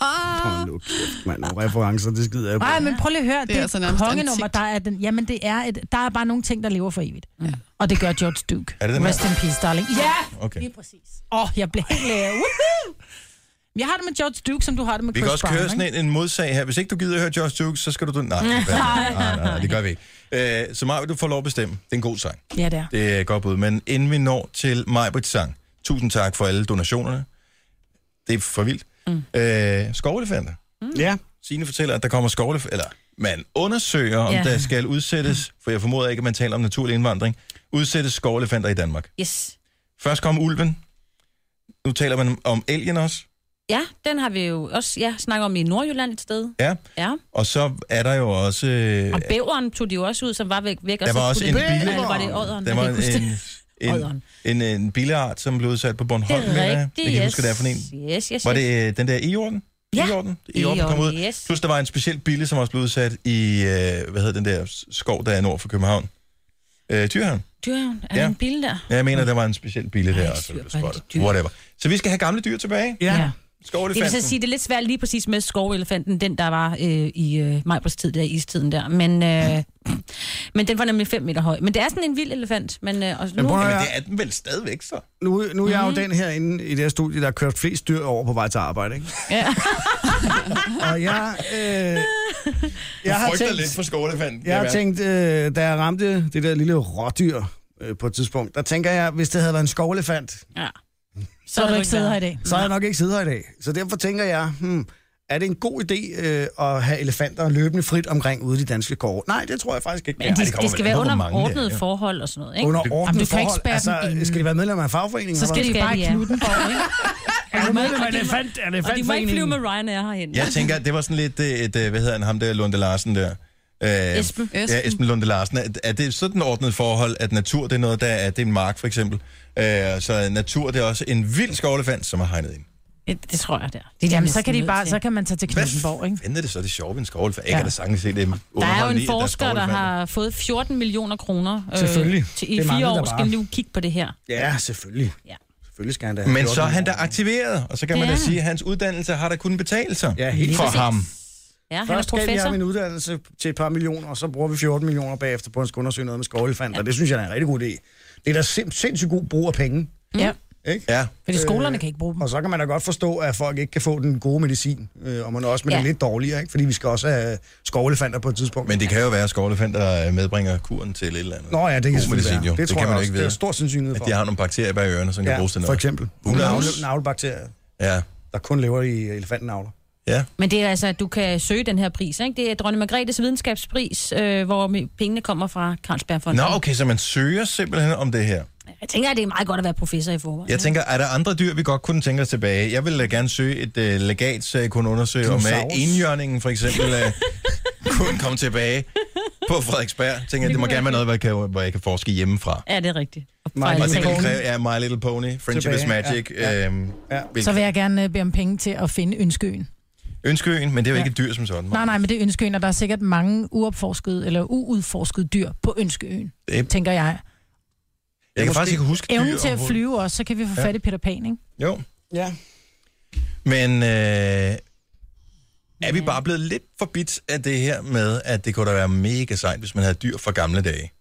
Hold nu kæft, mand. Nogle referencer, det skider jeg på. Nej, men prøv lige at høre, det, Det er er, altså et nærmest kongenummer, antikt. der er, den, jamen det er et, der er bare nogle ting, der lever for evigt. Ja. Og det gør George Duke. Er det den her? Rest in peace, darling. Ja! Okay. Lige præcis. Åh, oh, jeg blev helt lærer. Woohoo! Jeg har det med George Duke, som du har det med Vi Chris kan også Brown, køre sådan ikke? en, en modsag her. Hvis ikke du gider at høre Josh Duke, så skal du... du... Nej, nej, nej, nej, nej, det gør vi ikke. Øh, så Maja, du får lov at bestemme. Det er en god sang. Ja, det er. Det er et godt bud. Men inden vi når til Majbrits sang, tusind tak for alle donationerne. Det er for vildt. Mm. Øh, skovelefanter. Ja, Signe fortæller, at der kommer skovle... Eller man undersøger, om Ja. ja. der skal udsættes, for jeg formoder ikke, at man taler om naturlig indvandring, udsættes skovelefanter i Danmark. Yes. Først kom ulven. Nu taler man om elgen også. Ja, den har vi jo også ja, snakket om i Nordjylland et sted. Ja. Ja. Og så er der jo også... Øh, Og bæveren tog de jo også ud, som var væk. væk og der så var også en puttede- bille, Eller var det ådderen? der Jeg var kan ikke huske en, en, det. Odderen. en, en billeart, som blev udsat på Bornholm. Det er mener jeg. Jeg rigtigt, kan ikke huske, yes. hvad det er for en. Yes, yes, var yes. det øh, den der e-jorden? Ja. E-jorden, E-jorden, der kom ud. E-jorden, yes. Plus der var en speciel bille, som også blev udsat i, øh, hvad hedder den der s- skov, der er nord for København? Øh, Tyrhavn. Dyrhavn, er Ja. ja. en bil der? Ja, jeg mener, der var en speciel bille der, også, der blev spottet. Whatever. Så vi skal have gamle dyr tilbage. Ja. Det vil Skovelefanten. så sige, det er lidt svært lige præcis med skovelefanten, den der var øh, i øh, Majbers tid, der i istiden der. Men, øh, men den var nemlig 5 meter høj. Men det er sådan en vild elefant. Men, øh, og nu, er den vel stadigvæk så. Nu, nu er jeg jo den herinde i det her studie, der har kørt flest dyr over på vej til arbejde, ikke? Ja. og jeg, øh, jeg har frygter tænkt- lidt for skovelefanten. Jeg har tænkt, øh, da jeg ramte det der lille rådyr øh, på et tidspunkt, der tænker jeg, hvis det havde været en skovelefant, ja. Så er du ikke siddet her i dag. så havde jeg nok ikke siddet her i dag. Så derfor tænker jeg, hmm, er det en god idé øh, at have elefanter løbende frit omkring ude i de danske kår? Nej, det tror jeg faktisk ikke. Men Ja, de, det kommer det skal vel være an på, hvor under mange det er, ordnede ja. forhold og sådan noget, ikke? Under Jamen, ordnede du kan ikke forhold? spærre altså, dem inde. Skal de være medlem af en fagforening? Så skal de bare knude den for, ikke? Er du medlem af en elefant- og de må ikke elefantforeningen? flyve med Ryanair herhen. Jeg tænker, at det var sådan lidt øh, et, øh, hvad hedder han, ham der Lunde Larsen der. Øh, Esben. Ja, Esben Lunde Larsen. Er, er det sådan ordnet forhold, at natur, det er noget, der er, det er en mark for eksempel. Øh, så natur, det er også en vild skovlefant, som er hegnet ind. Det, det tror jeg, det er. Det er de Jamen, så næsten kan, de nødt bare, til. så kan man tage til Knutsenborg, ikke? Vender det så det sjove ved en skovlefant? Ikke Ja. ja. er det sagtens se det Der er jo underholdende i, en at er forsker, der, skovelefanter. har fået 14 millioner kroner øh, Selvfølgelig. til, i Det mangler fire der år. bare. Skal nu kigge på det her. Ja, selvfølgelig. Ja. Selvfølgelig skal han da have Men så er 14 han da aktiveret, og så kan man Ja. da sige, at hans uddannelse har da kun betalt sig ja, helt for præcis. ham. Ja, han er Først gav jeg professor. min uddannelse til et par millioner, og så bruger vi 14 millioner bagefter på, at han skal undersøge noget med skovelefanter. Ja. Det synes jeg er en rigtig god idé. Det er da sind, sindssygt god brug af penge. Ja. Ikke? Ja. Fordi skolerne øh, kan ikke bruge dem. Og så kan man da godt forstå, at folk ikke kan få den gode medicin, øh, og man også med ja. Ja. den lidt dårligere, ikke? fordi vi skal også have skovelefanter på et tidspunkt. Men det kan jo være, at skovlefanter øh, medbringer kuren til et eller andet. Nå ja, det kan God selvfølgelig medicin, være. jo. Det tror kan jeg man jo også. ikke Det vide. er stor sandsynlighed for. At de har nogle bakterier bag ørerne, som Ja, kan bruges til for noget. eksempel. Navle- Navlebakterier, Ja. der kun lever i elefantnavler. Ja. Men det er altså, at du kan søge den her pris, ikke? Det er Dronning Margrethes videnskabspris, øh, hvor me- pengene kommer fra Carlsbergfonden. Nå, okay, så man søger simpelthen om det her. Jeg tænker, at det er meget godt at være professor i forvejen. Jeg tænker, er der andre dyr, vi godt kunne tænke os tilbage? Jeg ville gerne søge et uh, legat, så jeg kunne undersøge, om Dinosaurus. øh, enhjørningen for eksempel uh, kunne komme tilbage på Frederiksberg. Tænker, det må gerne være noget, hvor jeg kan, hvor jeg kan forske hjemmefra. Ja, det er rigtigt. Og Fra det vil Italien. kræve, ja, My Little Pony, Friendship is Tilbage, ja, Magic, ja, øhm, ja. Så vil jeg gerne øh, bede om penge til at finde Ønskeøen. Ønskeøen, men det er jo Ja. ikke et dyr som sådan. Nej, nej, men det er Ønskeøen, og der er sikkert mange uopforskede eller uudforskede dyr på Ønskeøen, Det- tænker jeg. Jeg kan faktisk ikke huske dyr Evnen til at overhovedet. flyve også, så kan vi få Ja. fat i Peter Pan, ikke? Jo. Ja. Men øh, er vi bare blevet lidt forbidt af det her med, at det kunne da være mega sejt, hvis man havde dyr fra gamle dage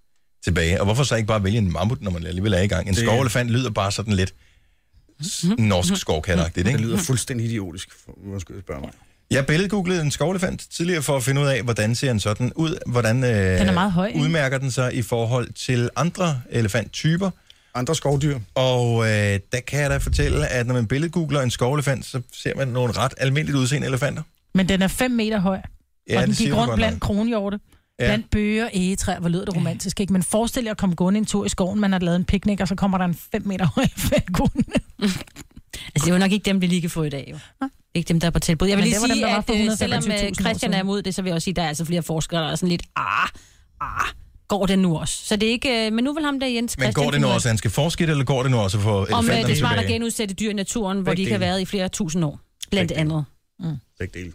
tilbage? Og hvorfor så ikke bare vælge en mammut, når man alligevel er i gang? En Det- skovelefant lyder bare sådan lidt s- Mhm. norsk skovkatteragtigt, ikke? Det lyder fuldstændig idiotisk, undskyld at spørge mig. Jeg billedgooglede en skovelefant tidligere for at finde ud af, hvordan ser en sådan ud, hvordan øh, er meget høj, ikke? udmærker den sig i forhold til andre elefanttyper. Andre skovdyr. Og øh, der kan jeg da fortælle, at når man billedgoogler en skovelefant, så ser man nogle ret almindeligt udseende elefanter. Men den er 5 meter høj, Ja, og den det siger gik hun rundt godt nok. blandt kronhjorte, Ja. ja. blandt bøger, egetræer, hvor lød det romantisk, ikke? Men forestil jer at komme gående en tur i skoven, man har lavet en picnic, og så kommer der en 5 meter høj falkon. Altså, det er jo nok ikke dem, vi lige kan få i dag, jo. Ikke dem, der er på tilbud. Jeg vil Men lige det var dem, sige, der var at for øh, selvom 125.000 øh, år Christian er siden. imod det, så vil jeg også sige, at der er altså flere forskere, der er sådan lidt, ah, ah, går det nu også? Så det er ikke, øh, men nu vil ham der Jens Men Christian... går det nu finde ud af- også, at han skal forske det, eller går det nu også for Om elefanterne øh, det er smart at tilbage? genudsætte dyr i naturen, hvor Begge de ikke har dele. været i flere tusind år, blandt andet. Begge dele.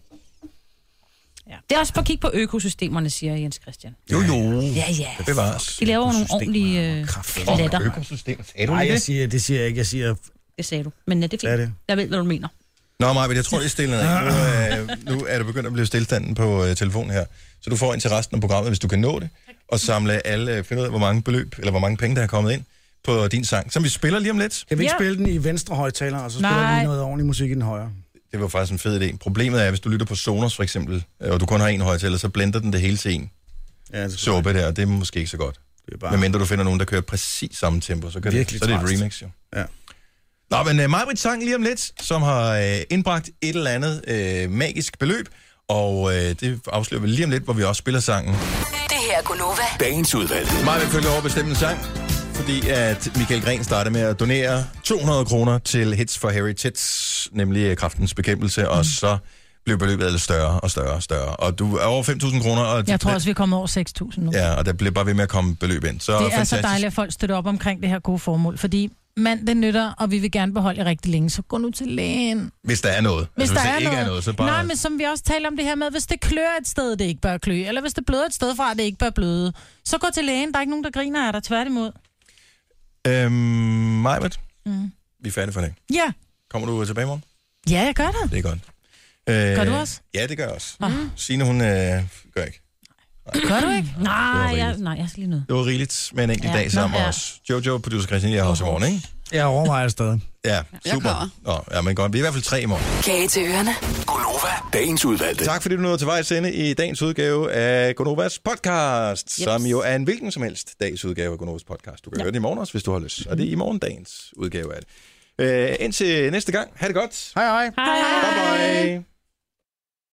Ja. Det er også for at kigge på økosystemerne, siger Jens Christian. Jo, jo. Ja, ja. Det bevares. De laver jo nogle ordentlige øh, klatter. Økosystem. Sagde du Nej, lige jeg det? siger, det siger jeg ikke. Jeg siger, Det sagde du. Men ja, det er Det fint. er det. Jeg ved, hvad du mener. Nå, Maja, jeg tror, det er stille ned. Nu, øh, nu er det begyndt at blive stillstanden på øh, telefonen her. Så du får ind til resten af programmet, hvis du kan nå det, og samle alle, øh, finde ud af, hvor mange beløb, eller hvor mange penge, der er kommet ind på din sang, som vi spiller lige om lidt. kan vi ikke spille den i venstre højtaler, og så spiller Nej. vi noget ordentlig musik i den højre? Det var faktisk en fed idé. Problemet er, hvis du lytter på Sonos for eksempel, øh, og du kun har en højtaler, så blender den det hele til en ja, såpe der, og det er måske ikke så godt. Det er bare... Medmindre du finder nogen, der kører præcis samme tempo, så, kan det, så Virkelig er det et træls. remix jo. øh, Ja. Nå, men uh, Majbrit sang lige om lidt, som har uh, indbragt et eller andet uh, øh, magisk beløb, Og øh, det afslører vi lige om lidt, hvor vi også spiller sangen. Det her er Gunova. Dagens udvalg. Mig vil følge over bestemmen sang, fordi at Michael Gren starter med at donere 200 kroner til Hits for Heritage, nemlig øh, kraftens bekæmpelse, mm. og så blev beløbet ellers større og større og større. Og du er over 5.000 kroner, og, Jeg tror også, vi er kommet over 6.000 nu. ja, og der bliver bare ved med at komme beløb ind. Så det er så fantastisk. dejligt, at folk støtter op omkring det her gode formål, fordi mand, det nytter, og vi vil gerne beholde jer rigtig længe, så gå nu til lægen. Hvis der er noget. Hvis altså, der hvis er ikke noget. er noget, så bare... Nej, men som vi også taler om det her med, hvis det klør et sted, det ikke bør klø, eller hvis det bløder et sted fra, det ikke bør bløde, så gå til lægen. Der er ikke nogen, der griner af dig, tværtimod. Øhm, Majbert, Mm. vi er færdige for i dag. Ja. Kommer du tilbage i morgen? ja, jeg gør det. Det er godt. Øh, Gør du også? Ja, det gør jeg også. Mhm. Signe, hun øh, gør ikke. Gør du ikke? Nej, Det var jeg, nej, jeg skal lige noget. Det var rigeligt med en enkelt Ja. dag sammen Nå, med ja. os. Jojo, producer Christian, jeg har også i morgen, ikke? Jeg overvejer stadig. Ja, Jeg super. Nå, ja, men godt. Vi er i hvert fald tre i morgen. Kage til ørerne. Dagens udvalgte. Tak fordi du nåede til vejs ende i dagens udgave af Gonovas podcast, yes. som jo er en hvilken som helst dags udgave af Gonovas podcast. Du kan ja. høre det i morgen også, hvis du har lyst. Og det er i morgen dagens udgave af det. Øh, indtil næste gang. Ha' det godt. Hej hej. Hej. Bye bye.